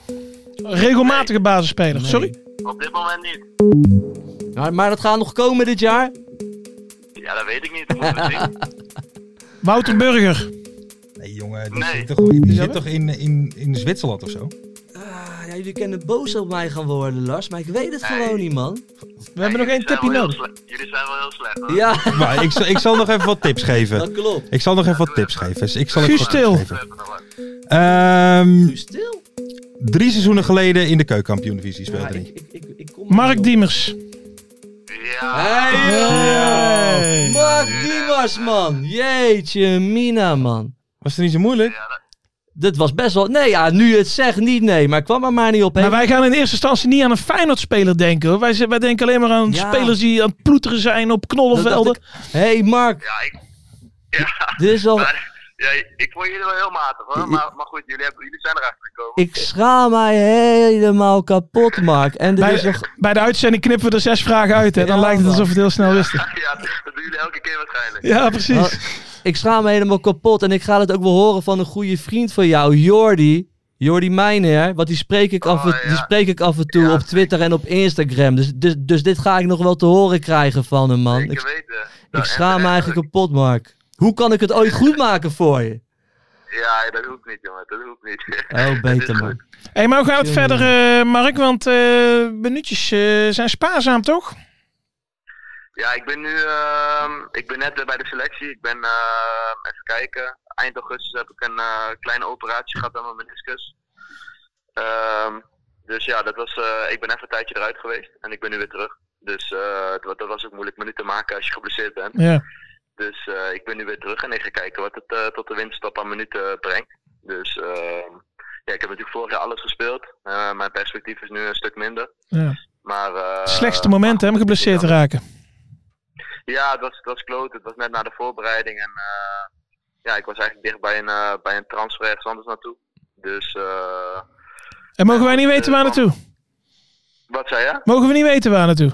Speaker 4: Regelmatige basisspeler,
Speaker 3: Nee.
Speaker 4: sorry.
Speaker 6: op dit moment niet.
Speaker 3: Maar, maar dat gaat nog komen dit jaar.
Speaker 6: Ja, dat weet ik niet, dat moeten we zien.
Speaker 4: Wouter Burger.
Speaker 2: Nee, jongen, die
Speaker 6: Nee.
Speaker 2: zit toch, die
Speaker 4: dat
Speaker 2: zit toch in, in, in Zwitserland of zo?
Speaker 3: Ah, Ja, jullie kunnen boos op mij gaan worden, Lars, maar ik weet het
Speaker 6: Nee.
Speaker 3: gewoon niet, man.
Speaker 4: We hebben nog één tipje
Speaker 6: Nou,
Speaker 4: nodig.
Speaker 6: Jullie zijn wel heel slecht hoor.
Speaker 3: Ja,
Speaker 2: Maar ik, zal- ik zal nog even wat tips geven.
Speaker 3: dat klopt.
Speaker 2: Ik zal nog even wat tips geven. Dus Ik zal even
Speaker 4: Guus
Speaker 2: wat tips
Speaker 4: Til.
Speaker 2: geven.
Speaker 6: Even nog wat.
Speaker 2: Ehm,
Speaker 3: Nu stil.
Speaker 2: drie seizoenen geleden in de keukenkampioen-divisie
Speaker 3: Ja,
Speaker 2: speelde
Speaker 3: ik,
Speaker 2: hij.
Speaker 3: ik, ik, ik kom
Speaker 4: Mark Diemers.
Speaker 6: Ja,
Speaker 3: Hey,
Speaker 4: Hey.
Speaker 3: yo! Mark Diemers, man. Jeetje, Mina, man.
Speaker 2: Was het niet zo moeilijk?
Speaker 6: ja, dat-
Speaker 3: Dit was best wel... Nee, ja, nu het zegt niet, nee. Maar ik kwam er maar niet op. hè.
Speaker 4: Maar Nou, wij gaan in eerste instantie niet aan een Feyenoord-speler denken. Hoor. Wij, z- wij denken alleen maar aan
Speaker 3: Ja.
Speaker 4: spelers die aan het ploeteren zijn op
Speaker 3: Dat dacht
Speaker 4: knollenvelden.
Speaker 3: ik. hey, Mark.
Speaker 6: ja, ik. Ja,
Speaker 3: Dit is al...
Speaker 6: maar- ja, ik vond jullie wel heel matig hoor. Maar, maar goed, jullie, hebben, jullie zijn erachter gekomen.
Speaker 3: Ik schaam mij helemaal kapot, Mark. En er
Speaker 4: Bij,
Speaker 3: is nog...
Speaker 4: bij de uitzending knippen we er zes vragen uit. Hè. Dan
Speaker 3: Ja,
Speaker 4: lijkt het
Speaker 3: man.
Speaker 4: alsof we het heel snel wisten.
Speaker 6: Ja, dat doen jullie elke keer waarschijnlijk.
Speaker 4: Ja, precies.
Speaker 3: Nou, ik schaam me helemaal kapot. En ik ga het ook wel horen van een goede vriend van jou, Jordi. Jordi Meijner. Want die spreek ik af, en-
Speaker 6: Oh, ja.
Speaker 3: die spreek ik af en toe
Speaker 6: Ja,
Speaker 3: op Twitter en op Instagram. Dus, dus, dus dit ga ik nog wel te horen krijgen van hem, man.
Speaker 6: Zeker
Speaker 3: Ik,
Speaker 6: weten. Nou,
Speaker 3: ik
Speaker 6: en
Speaker 3: schaam me
Speaker 6: terecht
Speaker 3: eigenlijk kapot, Mark. Hoe kan ik het ooit goed maken voor je?
Speaker 6: ook. Ja, dat hoeft niet jongen, dat hoeft niet.
Speaker 3: Oh,
Speaker 6: Dat is
Speaker 3: beter,
Speaker 6: goed.
Speaker 3: man.
Speaker 4: hey, maar hoe gaan we het
Speaker 3: Jongen.
Speaker 4: verder, eh, Mark? Want eh minuutjes eh, zijn spaarzaam, toch?
Speaker 6: Ja, ik ben nu ehm, ik ben net eh, bij de selectie. Ik ben, ehm, even kijken, eind augustus heb ik een eh, kleine operatie gehad aan mijn meniscus. Ehm, dus ja, dat was, eh, ik ben even een tijdje eruit geweest en ik ben nu weer terug. Dus eh, dat, dat was ook moeilijk minuten maken als je geblesseerd bent.
Speaker 4: Ja.
Speaker 6: Dus eh, ik ben nu weer terug en ik ga kijken wat het eh, tot de winterstop aan minuten brengt. Dus ehm, ja, ik heb natuurlijk vorig jaar alles gespeeld. Eh, mijn perspectief is nu een stuk minder.
Speaker 4: ja.
Speaker 6: Maar, eh,
Speaker 4: Slechtste moment, hè, om geblesseerd te raken.
Speaker 6: ja, het was, het was kloot. Het was net na de voorbereiding. En eh, ja, ik was eigenlijk dicht bij een, eh, bij een transfer ergens anders naartoe. Dus eh,
Speaker 4: En mogen wij niet weten waar naartoe?
Speaker 6: wat zei je?
Speaker 4: Mogen we niet weten waar naartoe?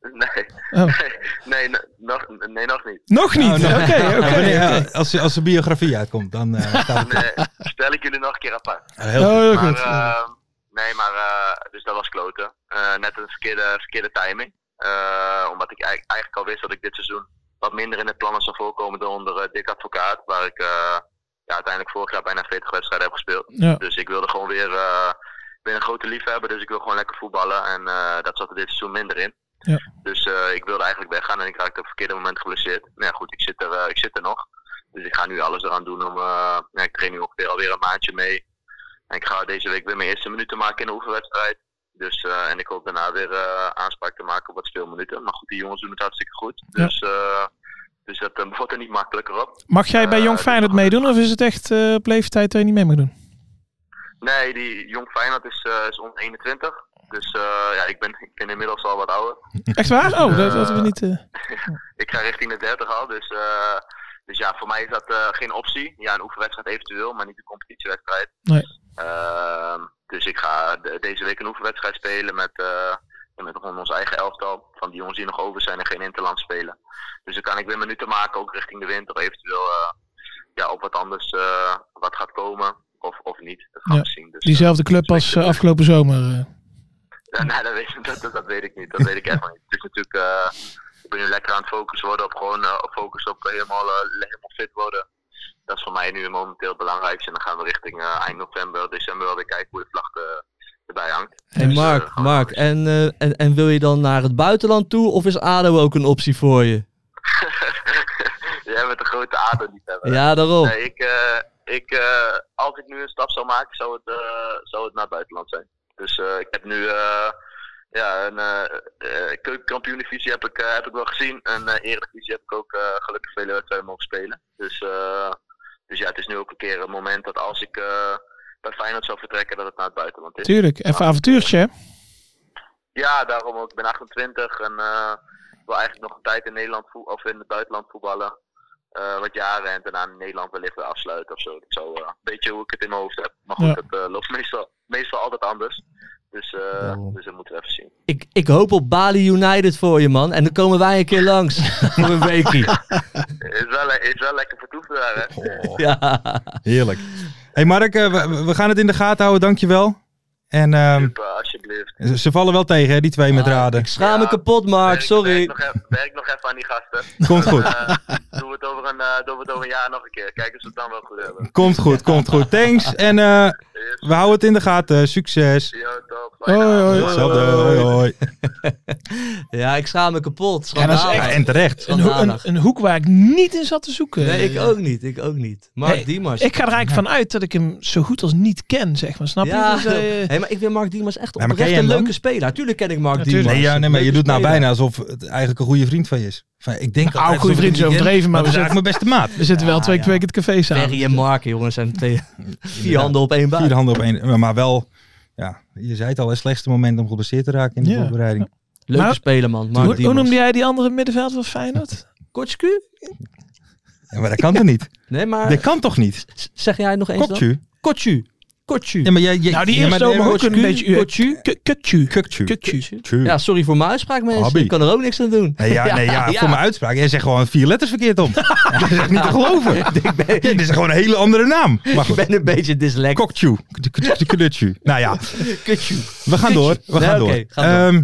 Speaker 6: Nee,
Speaker 4: Oh.
Speaker 6: nee, n- nog, nee, nog niet.
Speaker 4: Nog niet? Oké, oké.
Speaker 2: nou, Wanneer- ja, als, als de biografie uitkomt, dan eh, staat het
Speaker 6: Nee, stel ik jullie nog een keer apart.
Speaker 2: heel
Speaker 4: Oh,
Speaker 2: goed.
Speaker 4: heel
Speaker 6: Maar,
Speaker 4: goed.
Speaker 6: eh, nee, maar eh, dus dat was kloten. Eh, net een verkeerde, verkeerde timing. Eh, omdat ik eigenlijk, eigenlijk al wist dat ik dit seizoen wat minder in het plannen zou voorkomen dan onder eh, Dick Advocaat. Waar ik eh, ja, uiteindelijk vorig jaar bijna 40 wedstrijden heb gespeeld.
Speaker 4: ja.
Speaker 6: Dus ik wilde gewoon weer. eh, ik ben een grote liefhebber, dus ik wil gewoon lekker voetballen. En eh, dat zat er dit seizoen minder in.
Speaker 4: Ja.
Speaker 6: Dus eh, ik wilde eigenlijk weggaan en ik raakte op het verkeerde moment geblesseerd. Nou ja, goed, ik zit, er, eh, ik zit er nog. Dus ik ga nu alles eraan doen om. eh, ja, ik train nu ongeveer alweer een maandje mee. En ik ga deze week weer mijn eerste minuten maken in de oefenwedstrijd. Dus, eh, en ik hoop daarna weer eh, aanspraak te maken op wat speelminuten. Maar goed, die jongens doen het hartstikke goed.
Speaker 4: Ja.
Speaker 6: Dus, eh, dus dat eh, wordt er niet makkelijker op.
Speaker 4: Mag jij bij Jong
Speaker 6: eh,
Speaker 4: Feyenoord meedoen? Of is het echt eh op leeftijd dat je niet mee mag doen?
Speaker 6: Nee, die Jong Feyenoord is, eh is onder 21. Dus eh, ja, ik ben, ik ben inmiddels al wat ouder.
Speaker 4: Echt waar? Oh, dat hadden we niet... eh,
Speaker 6: Ik ga richting de 30 al. Dus, eh, dus ja, voor mij is dat eh, geen optie. Ja, een oefenwedstrijd eventueel, maar niet een competitiewedstrijd.
Speaker 4: Nee.
Speaker 6: Ehm, dus ik ga de- deze week een oefenwedstrijd spelen met, eh, met gewoon ons eigen elftal. Van die jongens die nog over zijn en geen interland spelen. Dus dan kan ik weer minuten maken, ook richting de winter. Eventueel eh, ja, op wat anders eh, wat gaat komen. Of, of niet. Dat gaan
Speaker 4: Ja,
Speaker 6: we zien. Dus, eh,
Speaker 4: Diezelfde club als eh, afgelopen zomer. eh.
Speaker 6: Ja, nee, dat weet, dat, dat, dat weet ik niet. Dat weet ik echt niet. Het is natuurlijk, eh, ik ben nu lekker aan het focussen worden op gewoon eh, op focus op helemaal, eh, helemaal fit worden. Dat is voor mij nu momenteel het belangrijkste. En dan gaan we richting eh, eind november, december wel weer kijken hoe de vlag eh, erbij hangt.
Speaker 3: Hey,
Speaker 6: Dus, eh,
Speaker 3: Mark,
Speaker 6: gaan we
Speaker 3: Mark. En, eh, en, en wil je dan naar het buitenland toe? Of is ADO ook een optie voor je?
Speaker 6: Jij bent een grote ader niet hebben.
Speaker 3: Ja, daarom.
Speaker 6: Nee, ik, eh, ik, eh, als ik nu een stap zou maken, zou het, eh, zou het naar het buitenland zijn. Dus eh, ik heb nu eh, ja, een eh eh, keukenkampioen-divisie heb, ik, eh, heb ik wel gezien. En eh eredivisie heb ik ook eh, gelukkig vele wedstrijden mogen spelen. Dus, eh, dus ja, het is nu ook een keer een moment dat als ik eh, bij Feyenoord zou vertrekken, dat het naar het buitenland is.
Speaker 4: Tuurlijk, even avontuurtje. hè?
Speaker 6: Ja, daarom ook. Ik ben 28 en eh, ik wil eigenlijk nog een tijd in Nederland voe- of in het buitenland voetballen. Eh, wat jaren en daarna in Nederland wellicht weer afsluiten of zo. Dat is zo eh, een beetje hoe ik het in mijn hoofd heb. Maar goed,
Speaker 4: Ja.
Speaker 6: dat eh, loopt meestal, meestal altijd anders. Dus, eh,
Speaker 3: Daarom.
Speaker 6: dus dat moeten we even zien.
Speaker 3: Ik, ik hoop op Bali United voor je, man. En dan komen wij een keer langs. voor een weekie.
Speaker 6: Is wel, le- is wel lekker vertoefd daar, hè?
Speaker 2: Oh,
Speaker 3: Ja.
Speaker 2: heerlijk. hey Mark, eh, we, we gaan het in de gaten houden, dankjewel. En ehm,
Speaker 6: Super, alsjeblieft.
Speaker 2: ze- ze vallen wel tegen, hè, die twee met
Speaker 3: Ah,
Speaker 2: raden.
Speaker 3: Ik schaam me
Speaker 6: Ja.
Speaker 3: kapot, Mark.
Speaker 6: Werk- Werk
Speaker 3: Ah, Sorry.
Speaker 6: nog, even, werk nog even aan die gasten.
Speaker 2: Komt goed,
Speaker 6: Eh, doen, we het over een, eh, doen we het over een jaar nog een keer. Kijken of we het dan wel goed hebben.
Speaker 2: komt goed, komt goed. Thanks en eh,
Speaker 6: Yes,
Speaker 2: we houden het in de gaten. Succes.
Speaker 6: Yo, top.
Speaker 4: Hoi, hoi.
Speaker 2: Hetzelfde. Hoi, hoi.
Speaker 3: Ja, ik schaam me kapot. Nou,
Speaker 4: Ja, dat is
Speaker 3: Schandalig.
Speaker 2: Ja, Ah, en terecht.
Speaker 4: Een, ho- een, een hoek waar ik niet in zat te zoeken.
Speaker 3: Nee, ik ook niet. Ik ook niet. Mark
Speaker 4: Nee,
Speaker 3: Diemers.
Speaker 4: Eh, Ik ga er eigenlijk van uit dat ik hem zo goed als niet ken, zeg maar. Snap
Speaker 3: ja,
Speaker 4: je? Dus, eh,
Speaker 3: hey, maar ik vind Mark Diemers echt
Speaker 2: Ja, maar ken
Speaker 3: oprecht
Speaker 2: jij
Speaker 3: een
Speaker 2: hem
Speaker 3: leuke
Speaker 2: dan?
Speaker 3: speler. Tuurlijk ken ik Mark
Speaker 4: Natuurlijk.
Speaker 3: Diemers.
Speaker 2: Nee, ja, nee, maar je
Speaker 3: Leuke
Speaker 2: doet nou
Speaker 3: speler.
Speaker 2: bijna alsof het eigenlijk een goede vriend van je is. Enfin, ik denk
Speaker 4: Nou,
Speaker 2: altijd
Speaker 4: goede
Speaker 2: alsof
Speaker 4: vriend is
Speaker 2: het een
Speaker 4: overdreven, maar
Speaker 2: maar dat
Speaker 4: we
Speaker 2: is eigenlijk mijn beste maat.
Speaker 4: we zitten wel
Speaker 3: Ja,
Speaker 4: twee
Speaker 3: ja.
Speaker 4: keer het café samen.
Speaker 3: Ferry en Mark, jongens, zijn twee, vier handen op één buik.
Speaker 2: Dus- Vier handen op één. Maar wel, ja, je zei het al, het slechtste moment om geblesseerd te raken in de
Speaker 4: Ja.
Speaker 2: voorbereiding.
Speaker 3: Leuke
Speaker 4: Maar-
Speaker 3: speler, man. Mark
Speaker 4: Hoe, hoe
Speaker 3: Diemers.
Speaker 4: noemde jij die andere middenveld van Feyenoord?
Speaker 3: Kotsku?
Speaker 2: Ja, maar dat kan toch niet?
Speaker 3: Nee, maar
Speaker 2: Dat kan toch niet?
Speaker 3: s- zeg jij nog eens dan?
Speaker 2: Kokju.
Speaker 3: Kotju. Kotju.
Speaker 2: Ja, maar jij, jij,
Speaker 4: nou, die
Speaker 2: ja, maar
Speaker 4: eerste oma ook
Speaker 2: Kotju.
Speaker 4: een beetje... Kutju. Kutju.
Speaker 2: Kukju.
Speaker 4: Kutju.
Speaker 2: Tju.
Speaker 3: Ja, sorry voor mijn uitspraak, mensen.
Speaker 2: Hobby.
Speaker 3: Ik kan er ook niks aan doen.
Speaker 2: Nee, ja, nee, ja, voor mijn uitspraak. Jij zegt gewoon vier letters verkeerd om. Dat is echt niet te geloven. Ja, dit is gewoon een hele andere naam. Maar
Speaker 3: Ik
Speaker 2: goed.
Speaker 3: ben een beetje dyslect.
Speaker 2: Kokju. Kutju. Nou ja,
Speaker 3: Kotju.
Speaker 2: we gaan door. We
Speaker 3: Nee,
Speaker 2: gaan door.
Speaker 3: oké, ga
Speaker 2: Ehm,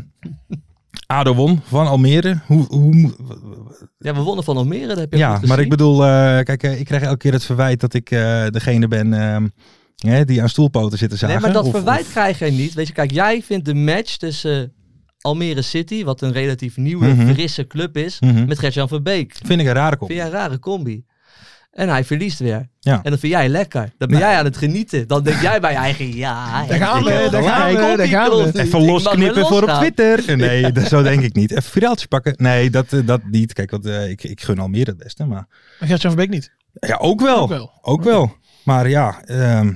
Speaker 2: ADO won van Almere. Hoe, hoe, mo-
Speaker 3: Ja, we wonnen van Almere, dat heb je
Speaker 2: ja,
Speaker 3: goed
Speaker 2: maar
Speaker 3: gezien.
Speaker 2: ik bedoel, eh, kijk, eh, ik krijg elke keer het verwijt dat ik eh, degene ben ehm, hè, die aan stoelpoten zitten zagen.
Speaker 3: Nee, maar dat
Speaker 2: Of-
Speaker 3: verwijt
Speaker 2: of-
Speaker 3: krijg jij niet. Weet je, kijk, jij vindt de match tussen eh, Almere City, wat een relatief nieuwe,
Speaker 2: Mhm.
Speaker 3: frisse club is,
Speaker 2: Mhm.
Speaker 3: met Gert-Jan Verbeek.
Speaker 2: vind ik een rare kop.
Speaker 3: Vind jij een rare combi. En hij verliest weer.
Speaker 2: Ja.
Speaker 3: En dan vind jij lekker. Dan ben jij aan het genieten. Dan denk jij bij je eigen, ja.
Speaker 4: Daar
Speaker 3: ja,
Speaker 4: gaan we,
Speaker 3: ik heb
Speaker 4: daar
Speaker 3: gelijk.
Speaker 4: gaan we,
Speaker 3: Combi
Speaker 4: daar gaan we.
Speaker 3: klopt niet.
Speaker 2: Even
Speaker 3: Ik mag weer
Speaker 2: losknippen voor op
Speaker 3: losgaan.
Speaker 2: Twitter. Nee, dat, zo denk ik niet. Even viraaltje pakken. Nee, dat, eh, dat niet. Kijk, want, eh, ik, ik gun Almere het beste. Maar
Speaker 4: Maar Gert-Jan Verbeek niet.
Speaker 2: ja, ook wel.
Speaker 4: Ook
Speaker 2: Ook
Speaker 4: wel.
Speaker 2: wel. Maar ja, ehm,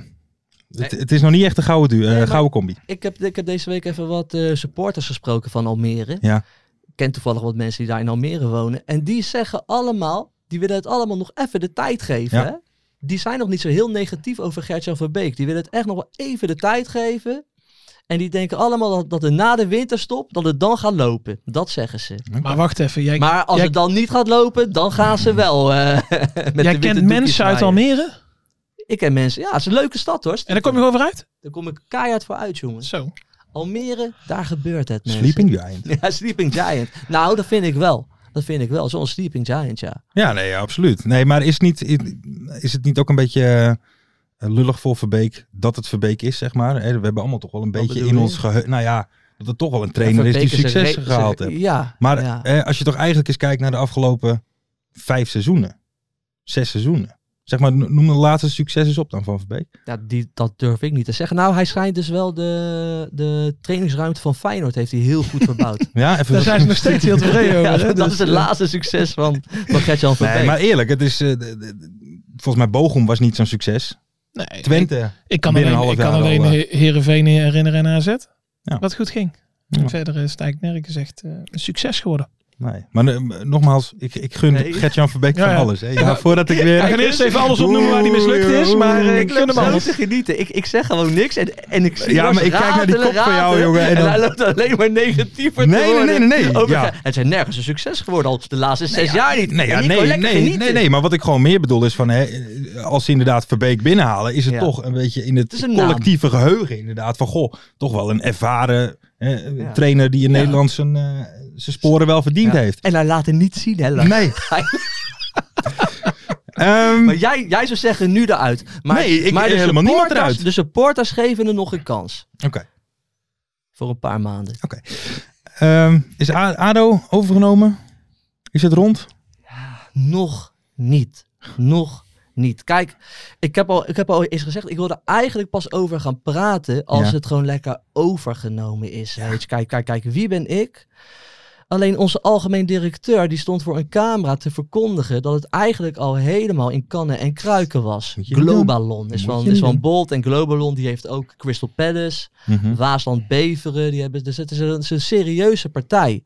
Speaker 2: het, het is nog niet echt een gouden, du- eh,
Speaker 3: maar-
Speaker 2: gouden combi.
Speaker 3: Ik heb, ik heb deze week even wat eh, supporters gesproken van Almere.
Speaker 2: Ja.
Speaker 3: Ik ken toevallig wat mensen die daar in Almere wonen. En die zeggen allemaal, die willen het allemaal nog even de tijd geven.
Speaker 2: Ja.
Speaker 3: Hè? Die zijn nog niet zo heel negatief over Gertjan Verbeek. Die willen het echt nog wel even de tijd geven. En die denken allemaal dat, dat het na de winterstop, dat het dan gaat lopen. Dat zeggen ze.
Speaker 4: Maar wacht even. Jij,
Speaker 3: Maar als
Speaker 4: jij,
Speaker 3: het dan niet gaat lopen, dan gaan ze wel. eh, met de
Speaker 4: jij
Speaker 3: witte
Speaker 4: kent
Speaker 3: doekjes
Speaker 4: mensen uit
Speaker 3: zwaaien.
Speaker 4: Almere?
Speaker 3: Ik ken mensen. Ja, het is een leuke stad hoor.
Speaker 4: En daar kom je over uit?
Speaker 3: Daar kom ik keihard voor uit, jongens.
Speaker 4: Zo.
Speaker 3: Almere, daar gebeurt het. Mensen.
Speaker 2: Sleeping Giant.
Speaker 3: Ja, Sleeping Giant. Nou, dat vind ik wel. Dat vind ik wel. Zo'n Sleeping Giant, ja.
Speaker 2: Ja, nee, ja, absoluut. Nee, maar is, niet, is het niet ook een beetje eh, lullig voor Verbeek dat het Verbeek is, zeg maar? Hè, We hebben allemaal toch wel een
Speaker 3: Wat
Speaker 2: beetje
Speaker 3: bedoel
Speaker 2: in
Speaker 3: je?
Speaker 2: ons geheugen... Nou ja, dat er toch wel een trainer is die
Speaker 3: Verbeek een
Speaker 2: succes
Speaker 3: re-
Speaker 2: gehaald
Speaker 3: ze-
Speaker 2: heeft.
Speaker 3: Ja.
Speaker 2: Maar
Speaker 3: ja.
Speaker 2: eh, als je toch eigenlijk eens kijkt naar de afgelopen vijf seizoenen. Zes seizoenen. Zeg maar, no- noem de laatste succes eens op dan van Verbeek.
Speaker 3: Ja, die, dat durf ik niet te zeggen. Nou, hij schijnt dus wel de, de trainingsruimte van Feyenoord heeft hij heel goed verbouwd.
Speaker 2: Ja, even
Speaker 4: Daar zijn ze nog steeds heel tevreden over.
Speaker 3: Ja,
Speaker 4: hè?
Speaker 3: dat
Speaker 4: Dus,
Speaker 3: is het
Speaker 4: eh,
Speaker 3: laatste succes van, van Gertjan Verbeek.
Speaker 2: Nee, maar eerlijk, het is, eh, de- de- de- volgens mij Bochum was niet zo'n succes.
Speaker 4: Nee,
Speaker 2: Twente.
Speaker 4: Ik kan
Speaker 2: Binnen een
Speaker 4: alleen, ik
Speaker 2: half
Speaker 4: kan
Speaker 2: jaar
Speaker 4: alleen
Speaker 2: al,
Speaker 4: He- Heerenveen herinneren en AZ.
Speaker 2: Ja.
Speaker 4: Wat goed ging.
Speaker 2: Ja.
Speaker 4: Verder is het eigenlijk nergens echt eh, een succes geworden.
Speaker 2: Nee. Maar eh, nogmaals, ik, ik gun
Speaker 3: Nee.
Speaker 2: Gert-Jan Verbeek
Speaker 4: Ja,
Speaker 2: van
Speaker 4: ja.
Speaker 2: alles. Hè. Ja, voordat ik weer...
Speaker 4: Hij gaat eerst even alles opnoemen waar die mislukt is, maar eh, ik gun hem
Speaker 3: zo
Speaker 4: alles.
Speaker 3: te genieten. Ik, ik zeg gewoon niks en, en ik zie
Speaker 2: Ja,
Speaker 3: Lars
Speaker 2: maar ik kijk naar die
Speaker 3: ratelen,
Speaker 2: kop van jou,
Speaker 3: ratelen.
Speaker 2: jongen, en
Speaker 3: En,
Speaker 2: dan-
Speaker 3: hij loopt alleen maar negatiever
Speaker 2: Nee,
Speaker 3: te
Speaker 2: nee,
Speaker 3: worden.
Speaker 2: nee, nee, nee,
Speaker 3: Over-
Speaker 2: ja.
Speaker 3: Het zijn nergens een succes geworden, al de laatste zes jaar niet.
Speaker 2: Nee, ja,
Speaker 3: En die kon
Speaker 2: nee,
Speaker 3: lekker
Speaker 2: nee,
Speaker 3: genieten.
Speaker 2: nee, nee, maar wat ik gewoon meer bedoel is van, hè, eh, als ze inderdaad Verbeek binnenhalen, is het
Speaker 3: Ja.
Speaker 2: toch een beetje in het,
Speaker 3: is een
Speaker 2: collectieve geheugen inderdaad van, goh, toch wel een ervaren hè,
Speaker 3: Ja.
Speaker 2: trainer die in
Speaker 3: Ja.
Speaker 2: Nederland zijn, eh, zijn sporen wel verdiend
Speaker 3: Ja.
Speaker 2: heeft.
Speaker 3: En hij laat het niet zien, hè, Lars.
Speaker 2: Nee. Ehm,
Speaker 3: Maar jij, jij zou zeggen nu eruit. Maar,
Speaker 2: Nee, ik-
Speaker 3: maar de
Speaker 2: helemaal niemand
Speaker 3: supporters-
Speaker 2: eruit.
Speaker 3: De supporters geven er nog een kans.
Speaker 2: Oké.
Speaker 3: Voor een paar maanden.
Speaker 2: Ehm, is A- ADO overgenomen? Is het rond?
Speaker 3: Nog niet. Nog niet. Kijk, ik heb al, ik heb al eens gezegd, ik wilde eigenlijk pas over gaan praten als
Speaker 2: Ja.
Speaker 3: het gewoon lekker overgenomen is. Weet je, kijk, kijk, kijk, wie ben ik? Alleen onze algemeen directeur die stond voor een camera te verkondigen dat het eigenlijk al helemaal in kannen en kruiken was.
Speaker 2: Moet je niet doen.
Speaker 3: Globalon is
Speaker 2: Moet je
Speaker 3: van,
Speaker 2: niet
Speaker 3: is van
Speaker 2: doen. Hm.
Speaker 3: Bolt en Globalon die heeft ook Crystal Palace. Waasland Beveren, die hebben, dus het is een, het is een serieuze partij.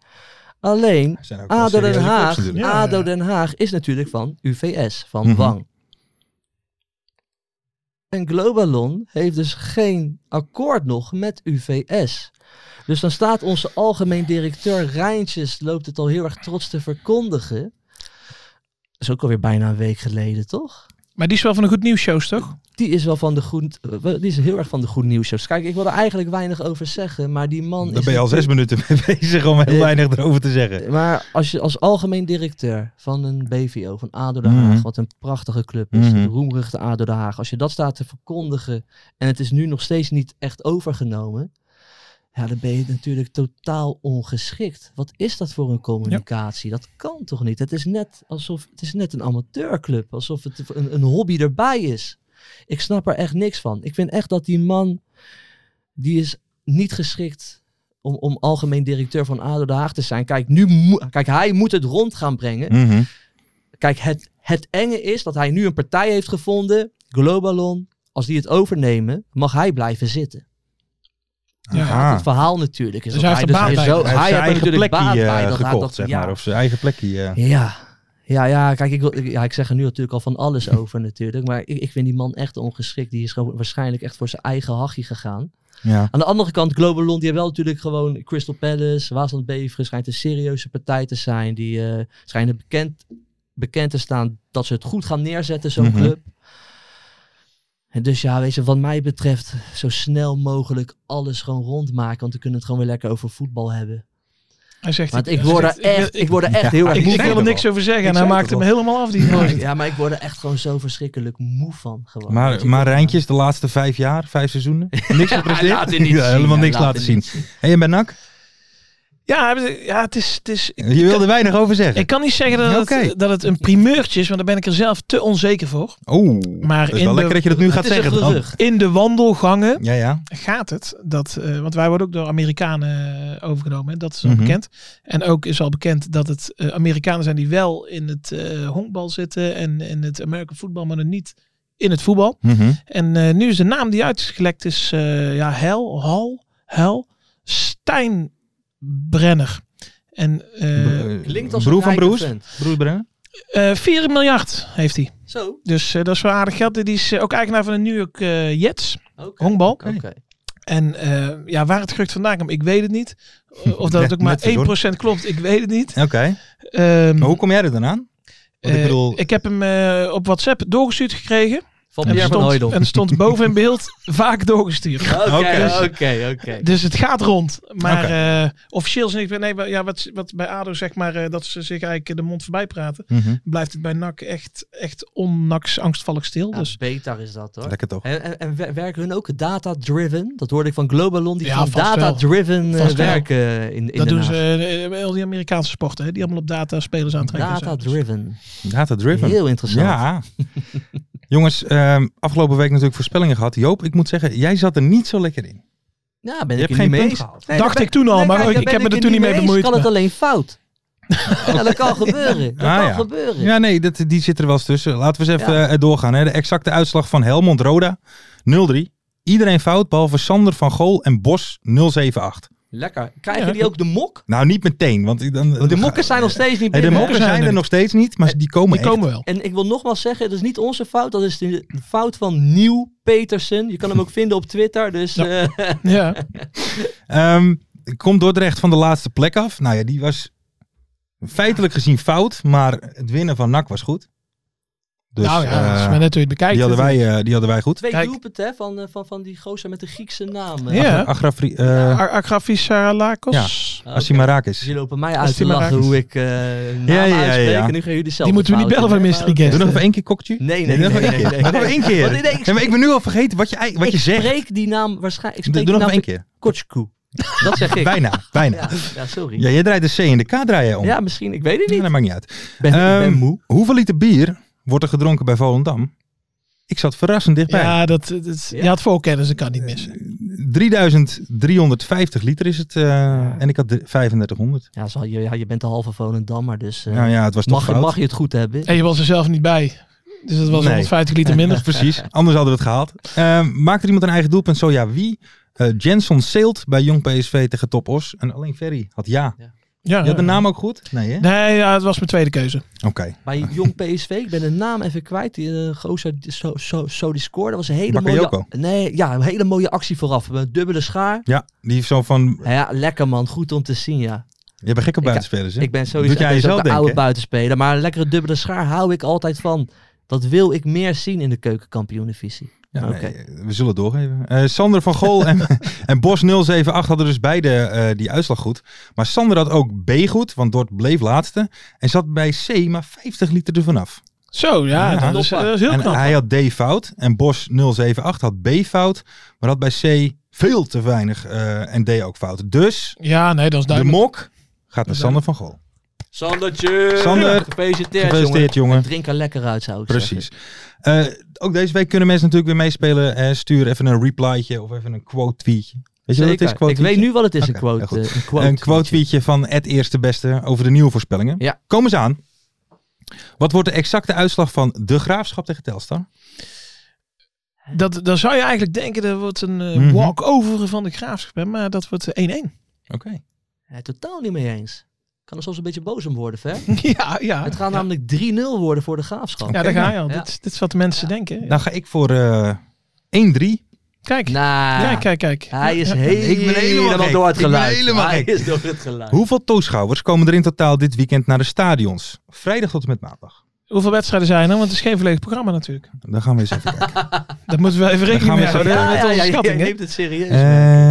Speaker 3: Alleen,
Speaker 2: Zijn ook wel
Speaker 3: ADO Den
Speaker 2: serieuze clubs
Speaker 3: Haag,
Speaker 2: natuurlijk.
Speaker 4: Ja,
Speaker 3: ADO
Speaker 4: ja.
Speaker 3: Den Haag is natuurlijk van UVS, van
Speaker 2: Mhm.
Speaker 3: Wang. En Globalon heeft dus geen akkoord nog met UVS. Dus dan staat onze algemeen directeur Rijntjes, loopt het al heel erg trots te verkondigen. Dat is ook alweer bijna een week geleden, toch?
Speaker 4: Maar die is wel van een goed nieuws shows, toch?
Speaker 3: Die is wel van de goed, eh, die is heel erg van de goed nieuwsshows. Kijk, ik wil er eigenlijk weinig over zeggen, maar die man
Speaker 2: Daar
Speaker 3: is...
Speaker 2: ben je al zes minuten mee bezig om heel
Speaker 3: Ja.
Speaker 2: weinig erover te zeggen.
Speaker 3: Eh, Maar als je als algemeen directeur van een BVO, van ADO Den
Speaker 2: Mhm.
Speaker 3: Haag, wat een prachtige club is,
Speaker 2: Mhm.
Speaker 3: de roemruchte ADO Den Haag, als je dat staat te verkondigen en het is nu nog steeds niet echt overgenomen, ja, dan ben je natuurlijk totaal ongeschikt. Wat is dat voor een communicatie? Dat kan toch niet? Het is net alsof het is net een amateurclub, alsof het een, een hobby erbij is. Ik snap er echt niks van. Ik vind echt dat die man, die is niet geschikt om, om algemeen directeur van ADO Den Haag te zijn. Kijk, nu moe- Kijk hij moet het rond gaan brengen.
Speaker 2: Mhm.
Speaker 3: Kijk, het, het enge is dat hij nu een partij heeft gevonden, Globalon. Als die het overnemen, mag hij blijven zitten.
Speaker 4: Ja.
Speaker 2: Aha.
Speaker 3: Het verhaal natuurlijk is
Speaker 4: Dus
Speaker 3: dat
Speaker 4: hij heeft er
Speaker 3: dus
Speaker 4: baat
Speaker 3: weer
Speaker 4: bij.
Speaker 3: zo,
Speaker 2: Hij heeft
Speaker 3: hij
Speaker 2: zijn
Speaker 3: heeft er
Speaker 2: eigen
Speaker 3: natuurlijk
Speaker 2: plekje
Speaker 3: baat bij.
Speaker 2: eh,
Speaker 3: dat hij-
Speaker 2: gekocht,
Speaker 3: dat,
Speaker 2: zeg
Speaker 3: ja,
Speaker 2: maar. Of zijn eigen plekje. eh.
Speaker 3: Ja, ja, ja kijk, ik, wil, ik- ja, ik zeg er nu natuurlijk al van alles over natuurlijk. Maar ik, ik vind die man echt ongeschikt. Die is gewoon waarschijnlijk echt voor zijn eigen hachje gegaan.
Speaker 2: Ja.
Speaker 3: Aan de andere kant, Globalon, die hebben wel natuurlijk gewoon Crystal Palace, Waasland Beveren, schijnt een serieuze partij te zijn. Die eh, schijnen bekend, bekend te staan dat ze het goed gaan neerzetten, zo'n
Speaker 2: Mhm.
Speaker 3: club. En dus ja, weet je, wat mij betreft, zo snel mogelijk alles gewoon rondmaken. Want we kunnen het gewoon weer lekker over voetbal hebben.
Speaker 4: Hij zegt
Speaker 3: Want
Speaker 4: het-
Speaker 3: ik
Speaker 4: hij
Speaker 3: word
Speaker 4: zegt,
Speaker 3: er echt,
Speaker 4: Ik,
Speaker 3: ik word er echt heel
Speaker 2: Ja,
Speaker 3: erg
Speaker 4: ik,
Speaker 3: moe
Speaker 2: zei
Speaker 4: ik
Speaker 3: van.
Speaker 4: wil er
Speaker 2: het
Speaker 4: niks
Speaker 2: al.
Speaker 4: over zeggen
Speaker 2: Ik
Speaker 4: en hij
Speaker 2: zei
Speaker 4: maakt
Speaker 2: het
Speaker 4: hem
Speaker 2: al.
Speaker 4: helemaal af, die gozer.
Speaker 3: Ja, maar ik word er echt gewoon zo verschrikkelijk moe van. Gewoon. Weet
Speaker 2: Maar,
Speaker 3: je,
Speaker 2: maar
Speaker 3: dat-
Speaker 2: Rijntje is de laatste vijf jaar, vijf seizoenen, niks gepresteerd.
Speaker 3: laat het niet
Speaker 2: Ja,
Speaker 3: zien,
Speaker 2: helemaal
Speaker 3: hij
Speaker 2: niks
Speaker 3: laat
Speaker 2: laten
Speaker 3: het
Speaker 2: zien.
Speaker 3: niet
Speaker 2: En je bent nak?
Speaker 4: Ja, hij- ja het is... Het is
Speaker 2: Je wilde weinig over zeggen.
Speaker 4: ik kan niet zeggen dat,
Speaker 2: Oké.
Speaker 4: het, dat het een primeurtje is, want daar ben ik er zelf te onzeker voor.
Speaker 2: Oeh,
Speaker 4: Maar
Speaker 2: dat is
Speaker 4: in
Speaker 2: wel
Speaker 4: de-
Speaker 2: lekker dat je dat nu
Speaker 3: het
Speaker 2: gaat
Speaker 3: is een
Speaker 2: zeggen. dan.
Speaker 3: gerucht.
Speaker 4: In de wandelgangen
Speaker 2: Ja, ja.
Speaker 4: gaat het dat, eh, want wij worden ook door Amerikanen eh, overgenomen, hè, dat is al
Speaker 2: Mhm.
Speaker 4: bekend. En ook is al bekend dat het eh, Amerikanen zijn die wel in het eh honkbal zitten en in het American voetbal, maar dan niet in het voetbal.
Speaker 2: Mhm.
Speaker 4: En eh, nu is de naam die uitgelekt is, eh, ja, Hel, Hal, Hel, Steinbrenner. En eh,
Speaker 2: Eh,
Speaker 3: Klinkt als
Speaker 2: broer
Speaker 3: een
Speaker 2: van
Speaker 3: rijke
Speaker 2: Broes.
Speaker 3: vent.
Speaker 2: Broer Brenner?
Speaker 4: eh, 4 miljard heeft hij.
Speaker 3: Zo.
Speaker 4: Dus eh, dat is wel aardig geld. Die is eh, ook eigenaar van de New York eh, Jets,
Speaker 3: Oké.
Speaker 4: honkbal.
Speaker 3: Oké.
Speaker 4: En eh, ja, waar het gerucht vandaan komt, ik weet het niet. Eh, Of dat het ook
Speaker 2: Net-
Speaker 4: maar
Speaker 2: net zo, hoor.
Speaker 4: 1% klopt, ik weet het niet.
Speaker 2: Oké,
Speaker 3: Eh,
Speaker 4: Ehm,
Speaker 2: maar hoe kom jij er dan aan? Want ik
Speaker 4: eh,
Speaker 2: bedoel,
Speaker 4: ik heb hem eh, op WhatsApp doorgestuurd gekregen.
Speaker 3: Van
Speaker 4: En
Speaker 3: Pierre van
Speaker 4: stond,
Speaker 3: Hooydonk.
Speaker 4: en stond boven in beeld vaak doorgestuurd.
Speaker 2: Oké.
Speaker 3: Oké, oké, oké.
Speaker 4: Dus het gaat rond. Maar
Speaker 2: Oké.
Speaker 4: eh, officieel is niks meer. Nee, wa- ja, wat, wat bij ADO zeg maar, eh, dat ze zich eigenlijk de mond voorbij praten.
Speaker 2: Mhm.
Speaker 4: Blijft het bij NAC echt, echt onnaks angstvallig stil.
Speaker 3: Ja,
Speaker 4: dus
Speaker 3: beter is dat hoor.
Speaker 2: lekker toch.
Speaker 3: En, en, en wer- werken hun ook data-driven? Dat hoorde ik van Globalon. Die
Speaker 4: Ja,
Speaker 3: gaan
Speaker 4: vast wel.
Speaker 3: data-driven eh,
Speaker 4: Vast wel.
Speaker 3: werken in, in
Speaker 4: dat
Speaker 3: Den
Speaker 4: doen ze
Speaker 3: Haag.
Speaker 4: eh, bij al die Amerikaanse sporten. Hè, die allemaal op data spelers aantrekken. en zo. Dus-
Speaker 3: Data-driven.
Speaker 2: Data-driven.
Speaker 3: Heel interessant.
Speaker 2: Ja. Jongens, ehm, afgelopen week natuurlijk voorspellingen gehad. Joop, ik moet zeggen, jij zat er niet zo lekker in.
Speaker 3: Ja, ben
Speaker 2: Je hebt
Speaker 3: ik er
Speaker 2: geen
Speaker 3: niet mee
Speaker 2: punt
Speaker 3: eens.
Speaker 2: gehaald.
Speaker 3: Nee,
Speaker 4: Dacht
Speaker 3: daar ben-
Speaker 4: ik toen al,
Speaker 3: nee,
Speaker 4: maar
Speaker 3: kijk,
Speaker 4: ik-
Speaker 3: daar
Speaker 4: ik
Speaker 3: ben
Speaker 4: heb me er
Speaker 3: er
Speaker 4: toen niet mee
Speaker 3: eens.
Speaker 4: bemoeid,
Speaker 3: Kan het
Speaker 4: maar-
Speaker 3: alleen fout? Ja, dat kan gebeuren. Dat
Speaker 2: Ah,
Speaker 3: kan
Speaker 2: ja.
Speaker 3: gebeuren.
Speaker 2: Ja, nee, dat, die zit er wel eens tussen. Laten we eens even
Speaker 3: Ja.
Speaker 2: eh, doorgaan. Hè. De exacte uitslag van Helmond Roda 0-3. Iedereen fout, behalve Sander van Gool en Bos 078.
Speaker 3: Lekker. Krijgen
Speaker 4: Ja.
Speaker 3: die ook de mok?
Speaker 2: Nou, niet meteen, want dan,
Speaker 3: De mokken zijn nog steeds niet
Speaker 2: Hey, de
Speaker 3: binnen. Eh,
Speaker 2: mokken zijn er nog steeds niet, maar die komen
Speaker 4: Die
Speaker 2: echt.
Speaker 4: komen wel.
Speaker 3: En ik wil nogmaals zeggen, het is niet onze fout. Dat is de de fout van Nieuw Petersen. Je kan hem ook vinden op Twitter. Dus eh,
Speaker 4: Ja.
Speaker 2: Dus, Ehm, komt Dordrecht van de laatste plek af. Nou ja, die was feitelijk gezien fout, maar het winnen van NAC was goed. Dus
Speaker 4: nou ja, dat is
Speaker 2: eh,
Speaker 4: maar net hoe je het bekijkt.
Speaker 2: die, hadden wij, eh, die hadden wij goed.
Speaker 3: twee
Speaker 4: Kijk.
Speaker 3: doelpunten hè, van, eh, van, van die gozer met de Griekse naam. eh.
Speaker 4: Ja.
Speaker 2: Agrafri, eh
Speaker 4: Ar- eh, Agrafisa Lakos.
Speaker 3: Oké.
Speaker 2: Asimarakis.
Speaker 3: Dus jullie lopen mij uit te
Speaker 4: die maar
Speaker 3: lachen
Speaker 4: raakt.
Speaker 3: hoe ik eh naam
Speaker 2: Ja, ja, ja,
Speaker 3: uitspreek.
Speaker 2: ja.
Speaker 3: En nu gaan jullie zelf
Speaker 4: Die moeten we
Speaker 3: de
Speaker 4: niet bellen van
Speaker 3: fouten
Speaker 4: Mystery
Speaker 3: nemen.
Speaker 4: Guest.
Speaker 2: Doe nog even één keer kokkertje.
Speaker 3: Nee, nee,
Speaker 2: doe nog
Speaker 3: nee,
Speaker 2: even één
Speaker 3: nee,
Speaker 2: keer.
Speaker 3: nee,
Speaker 2: Doe nog
Speaker 3: nee.
Speaker 2: even één keer.
Speaker 3: Want nee, nee, ik
Speaker 2: Nee, maar ik ben nu al vergeten wat je, ei- wat
Speaker 3: Ik
Speaker 2: je zegt.
Speaker 3: spreek die naam waarschijnlijk. Ik
Speaker 2: Doe
Speaker 3: spreek
Speaker 2: nog
Speaker 3: die
Speaker 2: even
Speaker 3: naam
Speaker 2: één keer.
Speaker 3: Kotschkoe. Dat zeg ik.
Speaker 2: Bijna, bijna.
Speaker 3: Ja,
Speaker 2: Ja,
Speaker 3: ja, sorry.
Speaker 2: jij draait de C en de K draai je om.
Speaker 3: Ja, misschien. Ik weet het
Speaker 2: Nee,
Speaker 3: niet.
Speaker 2: dat maakt niet uit.
Speaker 3: Ik ben, ik ben
Speaker 2: Ehm,
Speaker 3: moe.
Speaker 2: Hoeveel liter bier wordt er gedronken bij Volendam? Ik zat verrassend dichtbij.
Speaker 4: Ja, dat, dat, dat- je had voorkennis, dat kan niet missen.
Speaker 2: 3350 liter is het. eh, En ik had de- 3500.
Speaker 3: Ja, zal je, ja, je bent de halve Volendammer, dus eh,
Speaker 2: nou ja, het was toch
Speaker 3: mag, je,
Speaker 2: fout.
Speaker 3: mag je het goed hebben.
Speaker 4: En je was er zelf niet bij. Dus dat was
Speaker 2: Nee.
Speaker 4: 150 liter minder.
Speaker 2: Precies, anders hadden we het gehaald. Ehm, maakt er iemand een eigen doelpunt? Zo ja, wie? Eh, Jenson Seelt bij Jong PSV tegen Top Os. En alleen Ferry had ja.
Speaker 4: Ja,
Speaker 2: Je had de naam ook goed? Nee, hè?
Speaker 4: Nee, ja, het was mijn tweede keuze.
Speaker 2: Oké.
Speaker 3: Bij Jong PSV, ik ben de naam even kwijt. Die eh, gozer, die- zo, zo, zo die scoorde. Dat was een hele
Speaker 2: Bakayoko.
Speaker 3: mooie... Nee, ja, een hele mooie actie vooraf. Een dubbele schaar.
Speaker 2: Ja, die heeft zo van...
Speaker 3: Ja, Nou ja, lekker man. Goed om te zien, ja.
Speaker 2: Je bent gek op
Speaker 3: Ik-
Speaker 2: buitenspelers, hè?
Speaker 3: Ik ben
Speaker 2: Doet
Speaker 3: sowieso
Speaker 2: jij
Speaker 3: ik ben
Speaker 2: jezelf
Speaker 3: ook de oude
Speaker 2: denken, hè?
Speaker 3: buitenspeler. Maar een lekkere dubbele schaar hou ik altijd van. Dat wil ik meer zien in de keukenkampioenenvisie.
Speaker 2: Ja,
Speaker 3: Oké.
Speaker 2: eh, We zullen het doorgeven. Eh, Sander van Gol en, en Bos 078 hadden dus beide eh, die uitslag goed. Maar Sander had ook B goed, want Dort bleef laatste. En zat bij C maar 50 liter ervan af.
Speaker 4: Zo, ja,
Speaker 2: Ja.
Speaker 4: dat, is, dat is heel
Speaker 2: En
Speaker 4: knap.
Speaker 2: hij had D fout. En Bos 078 had B fout. Maar had bij C veel te weinig eh, en D ook fout. Dus
Speaker 4: ja, nee, dat is
Speaker 2: de
Speaker 4: duidelijk.
Speaker 2: mok gaat naar Sander van Gol.
Speaker 3: Sandertje!
Speaker 2: Sander,
Speaker 3: gefeliciteerd,
Speaker 2: Gefeliciteerd jongen.
Speaker 3: jongen. Drink er lekker uit, zou ik zeggen.
Speaker 2: Precies. Eh, ook deze week kunnen mensen natuurlijk weer meespelen. Eh, stuur even een replytje of even een quote tweetje. Weet je wat het is?
Speaker 3: Zeker.
Speaker 2: Quote
Speaker 3: Ik weet
Speaker 2: tweetje?
Speaker 3: nu wat het is,
Speaker 2: Oké,
Speaker 3: een quote.
Speaker 2: heel goed.
Speaker 3: eh, Een quote,
Speaker 2: een quote tweetje van het eerste beste over de nieuwe voorspellingen.
Speaker 3: Ja.
Speaker 2: Kom eens aan. Wat wordt de exacte uitslag van de graafschap tegen Telstar?
Speaker 4: Dat, dan zou je eigenlijk denken dat wordt een eh,
Speaker 2: Mhm.
Speaker 4: walk-over van de graafschap, hè, maar dat wordt eh, 1-1.
Speaker 2: Oké.
Speaker 3: Ja, Eh, totaal niet mee eens. Ik kan er soms een beetje boos om worden, Ver.
Speaker 4: ja, ja.
Speaker 3: Het gaat
Speaker 4: ja.
Speaker 3: namelijk 3-0 worden voor de graafschap.
Speaker 4: Ja, daar ga je al.
Speaker 3: Ja.
Speaker 4: Dit, is- dit is wat de mensen denken.
Speaker 2: Dan ga ik voor eh 1-3.
Speaker 4: Kijk.
Speaker 3: Nou,
Speaker 4: Ja, kijk, kijk.
Speaker 3: hij is
Speaker 4: Ja, ja.
Speaker 2: Ik ben
Speaker 3: helemaal,
Speaker 2: helemaal gek.
Speaker 3: door het
Speaker 2: Ik ben
Speaker 3: geluid.
Speaker 2: helemaal
Speaker 3: hij
Speaker 2: gek.
Speaker 3: is door het geluid.
Speaker 2: Hoeveel toeschouwers komen er in totaal dit weekend naar de stadions? Vrijdag tot en met maandag.
Speaker 4: Hoeveel wedstrijden zijn er? Want het is geen volledig programma natuurlijk.
Speaker 2: Dan gaan we eens even kijken.
Speaker 4: Dat moeten we even rekening
Speaker 2: gaan we
Speaker 4: mee
Speaker 2: eens
Speaker 4: houden.
Speaker 2: even-
Speaker 4: hè,
Speaker 3: ja, ja,
Speaker 4: Met onze
Speaker 3: ja, jij
Speaker 4: schatting, hè.
Speaker 3: neemt het serieus.
Speaker 2: Eh.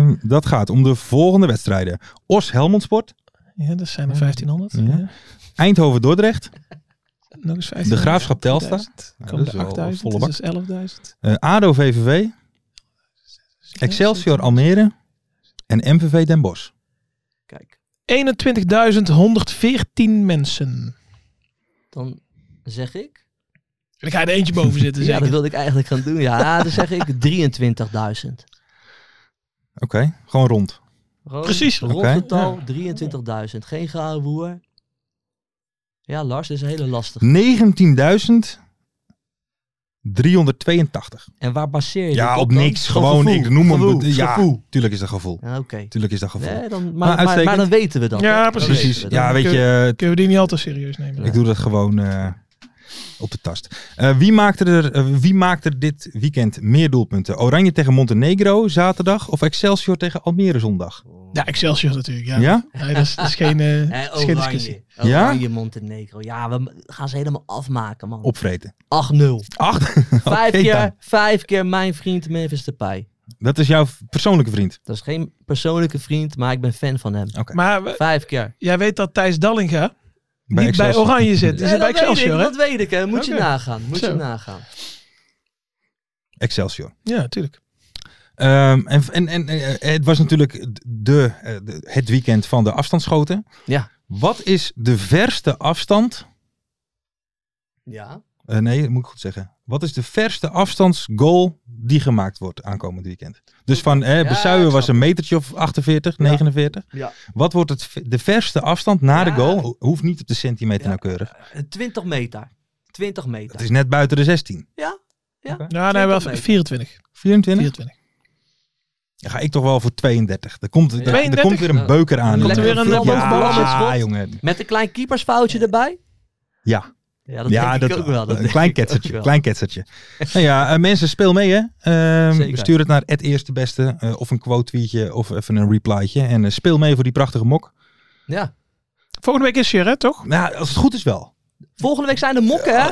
Speaker 2: Ehm, dat gaat om de volgende wedstrijden. Os Helmond Sport,
Speaker 4: Ja, dat zijn er eh, 1500.
Speaker 2: Ja.
Speaker 4: Ja.
Speaker 2: Eindhoven Dordrecht,
Speaker 4: Nog eens 1500.
Speaker 2: De Graafschap Telstar.
Speaker 4: 2000.
Speaker 2: Nou,
Speaker 4: Komen
Speaker 2: dat is
Speaker 4: er
Speaker 2: wel
Speaker 4: 8000.
Speaker 2: volle
Speaker 4: Dus dat is 11.000.
Speaker 2: eh, ADO VVV, Excelsior Almere en MVV Den Bosch.
Speaker 3: Kijk,
Speaker 4: 21.114 mensen.
Speaker 3: dan zeg ik...
Speaker 4: Dan ga je er eentje boven zitten.
Speaker 3: Ja, dat
Speaker 4: zeker.
Speaker 3: wilde ik eigenlijk gaan doen. Ja, dan zeg ik 23.000.
Speaker 2: Oké, gewoon rond.
Speaker 3: Gewoon
Speaker 4: Precies.
Speaker 3: Rond
Speaker 2: Oké.
Speaker 3: het tal 23.000. Geen gouden boer. Ja, Lars, dit is een hele lastige.
Speaker 2: 19.382.
Speaker 3: En waar baseer je
Speaker 2: Ja,
Speaker 3: dit
Speaker 2: op niks. Gewoon,
Speaker 3: gevoel,
Speaker 2: ik noem hem.
Speaker 3: gevoel,
Speaker 2: ja,
Speaker 3: gevoel.
Speaker 2: tuurlijk is dat gevoel.
Speaker 3: Ja, Oké.
Speaker 2: Tuurlijk is dat gevoel.
Speaker 3: Nee, dan, maar,
Speaker 2: Maar
Speaker 3: maar, maar
Speaker 2: uitstekend.
Speaker 3: dan weten we dat.
Speaker 4: Ja,
Speaker 3: Dan
Speaker 4: precies.
Speaker 3: weten we
Speaker 2: Precies.
Speaker 3: dat.
Speaker 2: Ja, weet je,
Speaker 4: Kunnen we die niet altijd serieus nemen.
Speaker 2: Ik doe dat gewoon eh, op de tast. Eh, wie, maakte er, eh, wie maakte er dit weekend meer doelpunten? Oranje tegen Montenegro zaterdag of Excelsior tegen Almere zondag?
Speaker 4: Ja, Excelsior natuurlijk. Ja.
Speaker 2: Ja?
Speaker 4: Nee, dat, is, dat is geen, eh,
Speaker 3: Hè,
Speaker 4: dat is geen
Speaker 3: oranje.
Speaker 4: discussie.
Speaker 2: Ja?
Speaker 3: Oranje Montenegro. Ja, we m- gaan ze helemaal afmaken, man.
Speaker 2: Opvreten.
Speaker 3: 8-0.
Speaker 2: Acht.
Speaker 3: Vijf,
Speaker 2: Oké
Speaker 3: keer,
Speaker 2: dan.
Speaker 3: vijf keer mijn vriend Memphis Depay.
Speaker 2: Dat is jouw persoonlijke vriend.
Speaker 3: Dat is geen persoonlijke vriend, maar ik ben fan van hem.
Speaker 4: Maar we-
Speaker 3: Vijf keer.
Speaker 4: jij weet dat Thijs Dallinga niet bij
Speaker 2: Excelsior.
Speaker 4: Oranje zit. Die
Speaker 3: Ja,
Speaker 4: zit bij
Speaker 3: dat, weet ik,
Speaker 4: Excelsior, hè?
Speaker 3: dat weet ik, hè. Moet je
Speaker 4: Oké.
Speaker 3: nagaan. Moet
Speaker 4: Zo.
Speaker 3: je nagaan.
Speaker 2: Excelsior.
Speaker 4: Ja, tuurlijk.
Speaker 2: Ehm, en, en, en eh, het was natuurlijk de, eh, de- het weekend van de afstandsschoten.
Speaker 3: Ja.
Speaker 2: Wat is de verste afstand
Speaker 3: Ja.
Speaker 2: Eh, nee, dat moet ik goed zeggen. Wat is de verste afstandsgoal die gemaakt wordt aankomend weekend? Dus van eh,
Speaker 3: Ja,
Speaker 2: Besuijen
Speaker 3: ik
Speaker 2: was
Speaker 3: snap
Speaker 2: een metertje of 48, 49.
Speaker 3: Ja.
Speaker 2: Wat wordt het, v- de verste afstand na de
Speaker 3: Ja.
Speaker 2: goal? Ho- Hoeft niet op de centimeter
Speaker 3: Ja.
Speaker 2: nauwkeurig.
Speaker 3: Eh, 20 meter. 20 meter.
Speaker 2: Het is net buiten de 16.
Speaker 4: Nou, nee, wel
Speaker 3: 20
Speaker 4: 24.
Speaker 2: 24?
Speaker 4: 24.
Speaker 2: Dan ga ik toch wel voor 32. Er komt, er- er,
Speaker 4: 32?
Speaker 2: komt weer een beuker aan.
Speaker 3: Komt
Speaker 4: er weer een,
Speaker 2: ja,
Speaker 4: eh, bovenballetje
Speaker 2: ja,
Speaker 3: schot?
Speaker 2: jongen.
Speaker 3: Met een klein keepersfoutje erbij?
Speaker 2: Ja,
Speaker 3: Ja,
Speaker 2: ja dat, een
Speaker 3: denk
Speaker 2: klein
Speaker 3: ik ook
Speaker 2: ketsertje.
Speaker 3: wel.
Speaker 2: Klein ketsertje. nou ja, eh, mensen, speel mee hè. Ehm,
Speaker 3: Zeker.
Speaker 2: stuur het naar het eerste beste. eh, of een quote tweetje of even een replytje. En eh, speel mee voor die prachtige mok.
Speaker 3: Ja.
Speaker 4: Volgende week is je, hè, toch?
Speaker 2: Nou, als het goed is wel.
Speaker 3: Volgende week zijn de mokken, hè?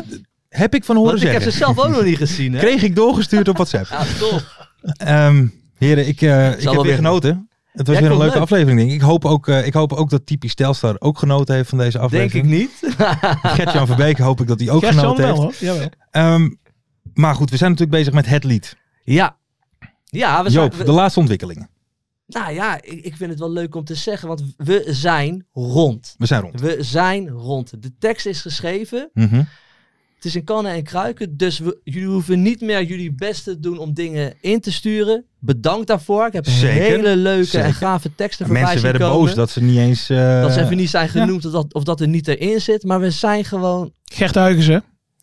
Speaker 2: Heb ik van horen
Speaker 3: Want ik heb
Speaker 2: zeggen.
Speaker 3: ze zelf ook nog niet gezien, hè?
Speaker 2: Kreeg ik doorgestuurd op WhatsApp.
Speaker 3: Ja, toch.
Speaker 2: Ehm heren, ik, eh, ik heb
Speaker 3: wel
Speaker 2: weer
Speaker 3: weer-
Speaker 2: genoten. Het was weer een
Speaker 3: Ja, ik vond het
Speaker 2: leuke
Speaker 3: leuk.
Speaker 2: aflevering, denk ik. Ik hoop, ook, eh, ik hoop ook dat typisch Telstar ook genoten heeft van deze
Speaker 3: Denk ik
Speaker 2: aflevering.
Speaker 3: niet.
Speaker 2: Gert-Jan Verbeek hoop ik dat hij ook
Speaker 4: Gert-Jan
Speaker 2: genoten
Speaker 4: wel,
Speaker 2: heeft.
Speaker 4: hoor. Jawel.
Speaker 2: Ehm, maar goed, we zijn natuurlijk bezig met het lied.
Speaker 3: Ja. Ja, we zijn...
Speaker 2: Joop,
Speaker 3: we-
Speaker 2: de laatste ontwikkelingen.
Speaker 3: nou ja, ik, ik vind het wel leuk om te zeggen, want we zijn rond.
Speaker 2: We zijn rond.
Speaker 3: We zijn rond. De tekst is geschreven.
Speaker 2: Mhm.
Speaker 3: Het is in kannen en kruiken, dus we, jullie hoeven niet meer jullie best te doen om dingen in te sturen. Bedankt daarvoor. Ik heb
Speaker 2: Zeker,
Speaker 3: hele leuke
Speaker 2: zeker.
Speaker 3: en gave teksten voorbij
Speaker 2: Mensen
Speaker 3: zien
Speaker 2: werden
Speaker 3: komen.
Speaker 2: boos dat ze niet eens... eh,
Speaker 3: Dat ze even niet zijn genoemd of, dat, of dat er niet erin zit. Maar we zijn gewoon...
Speaker 4: Gert Huygens, hè?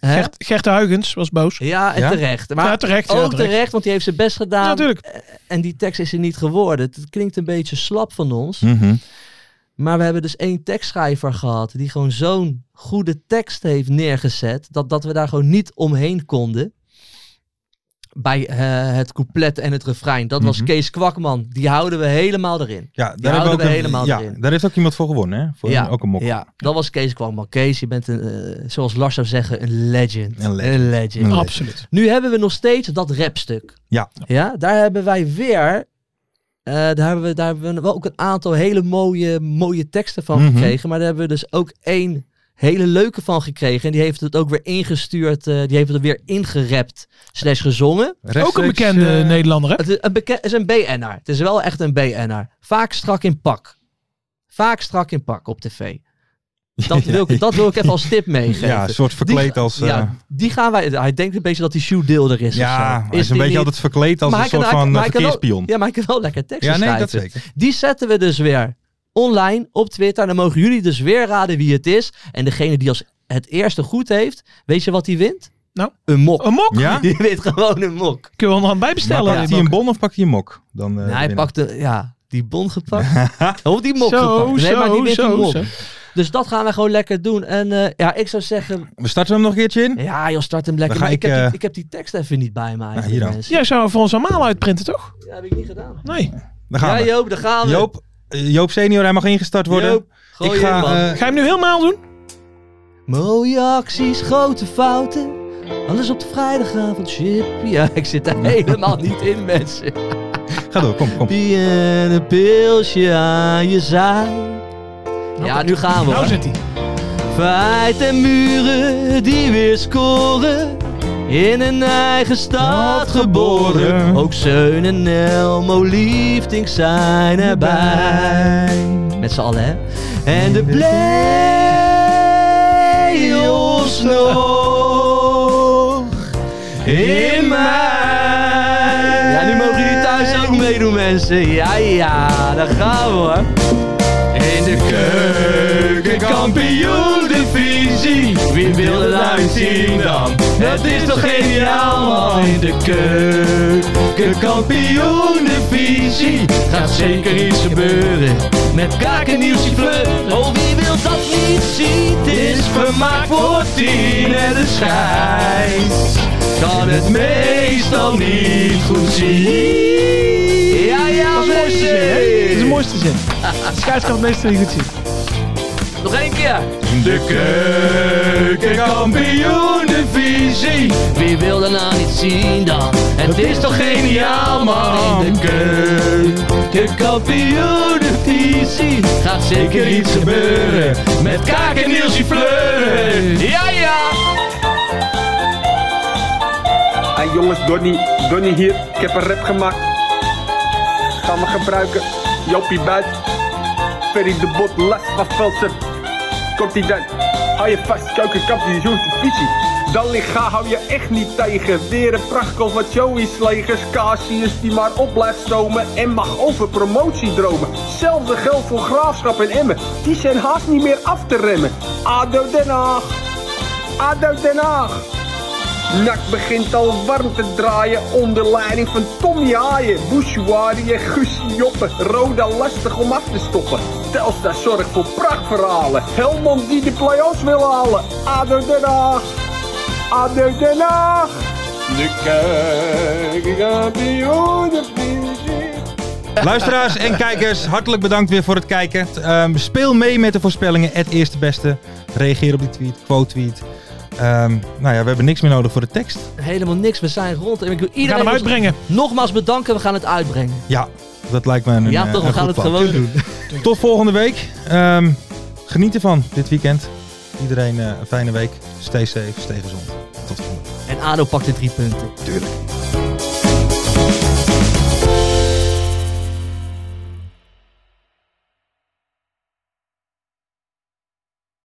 Speaker 3: Hè?
Speaker 4: Gert, Gert Huygens was boos.
Speaker 3: Ja, en
Speaker 2: Ja?
Speaker 3: terecht. Maar
Speaker 4: ja, terecht. ja,
Speaker 3: ook
Speaker 4: terecht.
Speaker 3: terecht. want die heeft zijn best
Speaker 4: Ja,
Speaker 3: gedaan.
Speaker 4: natuurlijk.
Speaker 3: en die tekst is er niet geworden. Het klinkt een beetje slap van ons.
Speaker 2: Mhm.
Speaker 3: Maar we hebben dus één tekstschrijver gehad. Die gewoon zo'n goede tekst heeft neergezet. Dat, dat we daar gewoon niet omheen konden. bij eh, het couplet en het refrein. Dat was
Speaker 2: Mhm.
Speaker 3: Kees Kwakman. Die houden we helemaal erin.
Speaker 2: Ja,
Speaker 3: Die
Speaker 2: daar, hebben we
Speaker 3: houden
Speaker 2: ook
Speaker 3: we
Speaker 2: een-
Speaker 3: helemaal
Speaker 2: ja,
Speaker 3: erin.
Speaker 2: daar heeft ook iemand voor gewonnen, hè? Voor
Speaker 3: Ja,
Speaker 2: een- ook een mok.
Speaker 3: Ja, dat was Kees Kwakman. Kees, je bent, een, eh, zoals Lars zou zeggen, een legend.
Speaker 2: Een legend.
Speaker 3: Een legend.
Speaker 2: Een
Speaker 4: Absoluut.
Speaker 3: Nu hebben we nog steeds dat rapstuk.
Speaker 2: Ja.
Speaker 3: ja daar hebben wij weer. eh, daar, hebben we, daar hebben we wel ook een aantal hele mooie, mooie teksten van
Speaker 2: Mhm.
Speaker 3: gekregen. Maar daar hebben we dus ook één hele leuke van gekregen. En die heeft het ook weer ingestuurd. eh, die heeft het weer ingerept. Slash gezongen.
Speaker 2: Rechtstreeks,
Speaker 4: Ook een bekende
Speaker 2: eh,
Speaker 4: Nederlander, hè?
Speaker 3: Het is een, beke- het is een BN'er. Het is wel echt een BN'er. Vaak strak in pak. Vaak strak in pak op tv. Dat wil, ik, dat wil ik even als tip meegeven.
Speaker 2: Ja, een soort verkleed als... eh,
Speaker 3: ja,
Speaker 2: ja,
Speaker 3: die gaan wij. Hij denkt een beetje dat hij shoe deel er is. of zo.
Speaker 2: hij is
Speaker 3: die
Speaker 2: een beetje
Speaker 3: niet?
Speaker 2: altijd verkleed als
Speaker 3: Maar
Speaker 2: een
Speaker 3: hij kan-
Speaker 2: soort
Speaker 3: hij-
Speaker 2: van
Speaker 3: maar
Speaker 2: eh,
Speaker 3: hij kan wel-
Speaker 2: verkeerspion.
Speaker 3: Ja, maar ik kan wel lekker teksten
Speaker 2: Ja, nee, dat
Speaker 3: schrijven.
Speaker 2: zeker.
Speaker 3: Die zetten we dus weer online op Twitter. Dan mogen jullie dus weer raden wie het is. En degene die als het eerste goed heeft, weet je wat die wint?
Speaker 4: Nou?
Speaker 3: Een mok.
Speaker 4: Een mok?
Speaker 2: Ja? Eh,
Speaker 3: Die wint gewoon een mok.
Speaker 4: Kun je onderhand
Speaker 2: Maar
Speaker 4: bijbestellen?
Speaker 2: pakt hij een bon of pakt hij een mok? Dan, eh,
Speaker 3: Nou, hij
Speaker 2: winnen.
Speaker 3: pakt de, ja, die bon gepakt. of die mok
Speaker 4: Zo,
Speaker 3: gepakt. Nee,
Speaker 4: zo,
Speaker 3: maar die wint een
Speaker 4: zo,
Speaker 3: mok.
Speaker 4: zo.
Speaker 3: Dus dat gaan we gewoon lekker doen. En eh, ja, ik zou zeggen,
Speaker 2: We starten hem nog een keertje in?
Speaker 3: ja joh, start hem lekker.
Speaker 2: Dan ga
Speaker 3: Maar ik,
Speaker 2: ik,
Speaker 3: heb
Speaker 2: eh, Nou,
Speaker 3: die, ik heb die tekst even niet bij me eigenlijk,
Speaker 2: hier dan.
Speaker 3: mensen.
Speaker 4: Jij zou voor ons allemaal uitprinten, toch?
Speaker 3: Dat heb ik niet gedaan.
Speaker 4: Nee.
Speaker 2: Dan gaan
Speaker 3: Ja
Speaker 2: we.
Speaker 3: Joop, daar gaan we.
Speaker 2: Joop, eh, Joop senior, hij mag ingestart worden.
Speaker 3: Joop, gooi
Speaker 2: ik
Speaker 3: in,
Speaker 2: ga...
Speaker 3: man.
Speaker 2: eh,
Speaker 4: Ga je hem nu helemaal doen?
Speaker 3: Mooie acties, grote fouten. Alles op de vrijdagavond, chip. Ja, ik zit er helemaal niet in, mensen.
Speaker 2: ga door, kom, kom.
Speaker 3: Die en een pilsje aan je zij. Ja, nu gaan we.
Speaker 4: Nou
Speaker 3: hoor.
Speaker 4: zit hij.
Speaker 3: Feit en muren die weer scoren. In een eigen stad geboren. Ook Zeun en Elmo Liefdink zijn erbij. Met z'n allen, hè? En de play-offs nog in mij. Ja, nu mogen jullie thuis ook meedoen, mensen. Ja, ja, daar gaan we, hoor. In de keukenkampioen-divisie. Wie wil het nou niet zien dan? Het is toch geniaal, man. In de keukenkampioen-divisie. Gaat zeker iets gebeuren. Met kaken, nieuwsje, fleur. Oh, wie wil dat niet zien? Het is vermaakt voor tien en de schijt. Kan het meestal niet goed zien. Ja, ja,
Speaker 4: Dat is de mooiste zin, hè? Dat is de mooiste zin. De scheidsrechter meestal niet goed zien.
Speaker 3: Nog één keer.
Speaker 2: De keukenkampioen divisie.
Speaker 3: Wie wil dat nou niet zien dan? Het is toch geniaal man in de keuken. Kampioenenvisie gaat zeker iets gebeuren. Met kaak en Nielsie Fleuren. Ja ja!
Speaker 7: Hey jongens, Donny, Donny hier. Ik heb een rap gemaakt. Gaan we gebruiken. Jopie buit. Ferry de Bot, last van Velsen. Komt ie dan. Hou je vast, keukenkampioen visie. Dan ga hou je echt niet tegen. Weer een prachtkel van Joey's legers. Casius die maar op blijft stomen. En mag over promotie dromen. Zelfde geld voor Graafschap en Emmen. Die zijn haast niet meer af te remmen. ADO Den Haag. ADO Den Haag. Nak begint al warm te draaien onder leiding van Tommy Haaien, Bouchouari en Guus Joppe. Roda lastig om af te stoppen. Telstar zorgt voor prachtverhalen. Helmond die de play-offs wil halen. ADO Den Haag. ADO Den Haag. De keukenkampioenenvisie.
Speaker 2: Luisteraars en kijkers, hartelijk bedankt weer voor het kijken. Ehm, speel mee met de voorspellingen. Het eerste beste. Reageer op die tweet, quote tweet. Ehm, nou ja, we hebben niks meer nodig voor de tekst.
Speaker 3: Helemaal niks, we zijn rond en ik wil
Speaker 4: We gaan
Speaker 3: iedereen
Speaker 4: hem uitbrengen.
Speaker 3: nogmaals bedanken. We gaan het uitbrengen.
Speaker 2: Ja, dat lijkt me een
Speaker 3: ja
Speaker 2: eh,
Speaker 3: toch,
Speaker 2: een
Speaker 3: we gaan
Speaker 2: goed
Speaker 3: het
Speaker 2: plan.
Speaker 3: gewoon doen.
Speaker 2: Tot volgende week. Ehm, geniet ervan dit weekend. Iedereen eh, een fijne week. Stay safe, stay gezond. Tot volgende week.
Speaker 3: En Ado pakt de drie punten.
Speaker 2: Tuurlijk.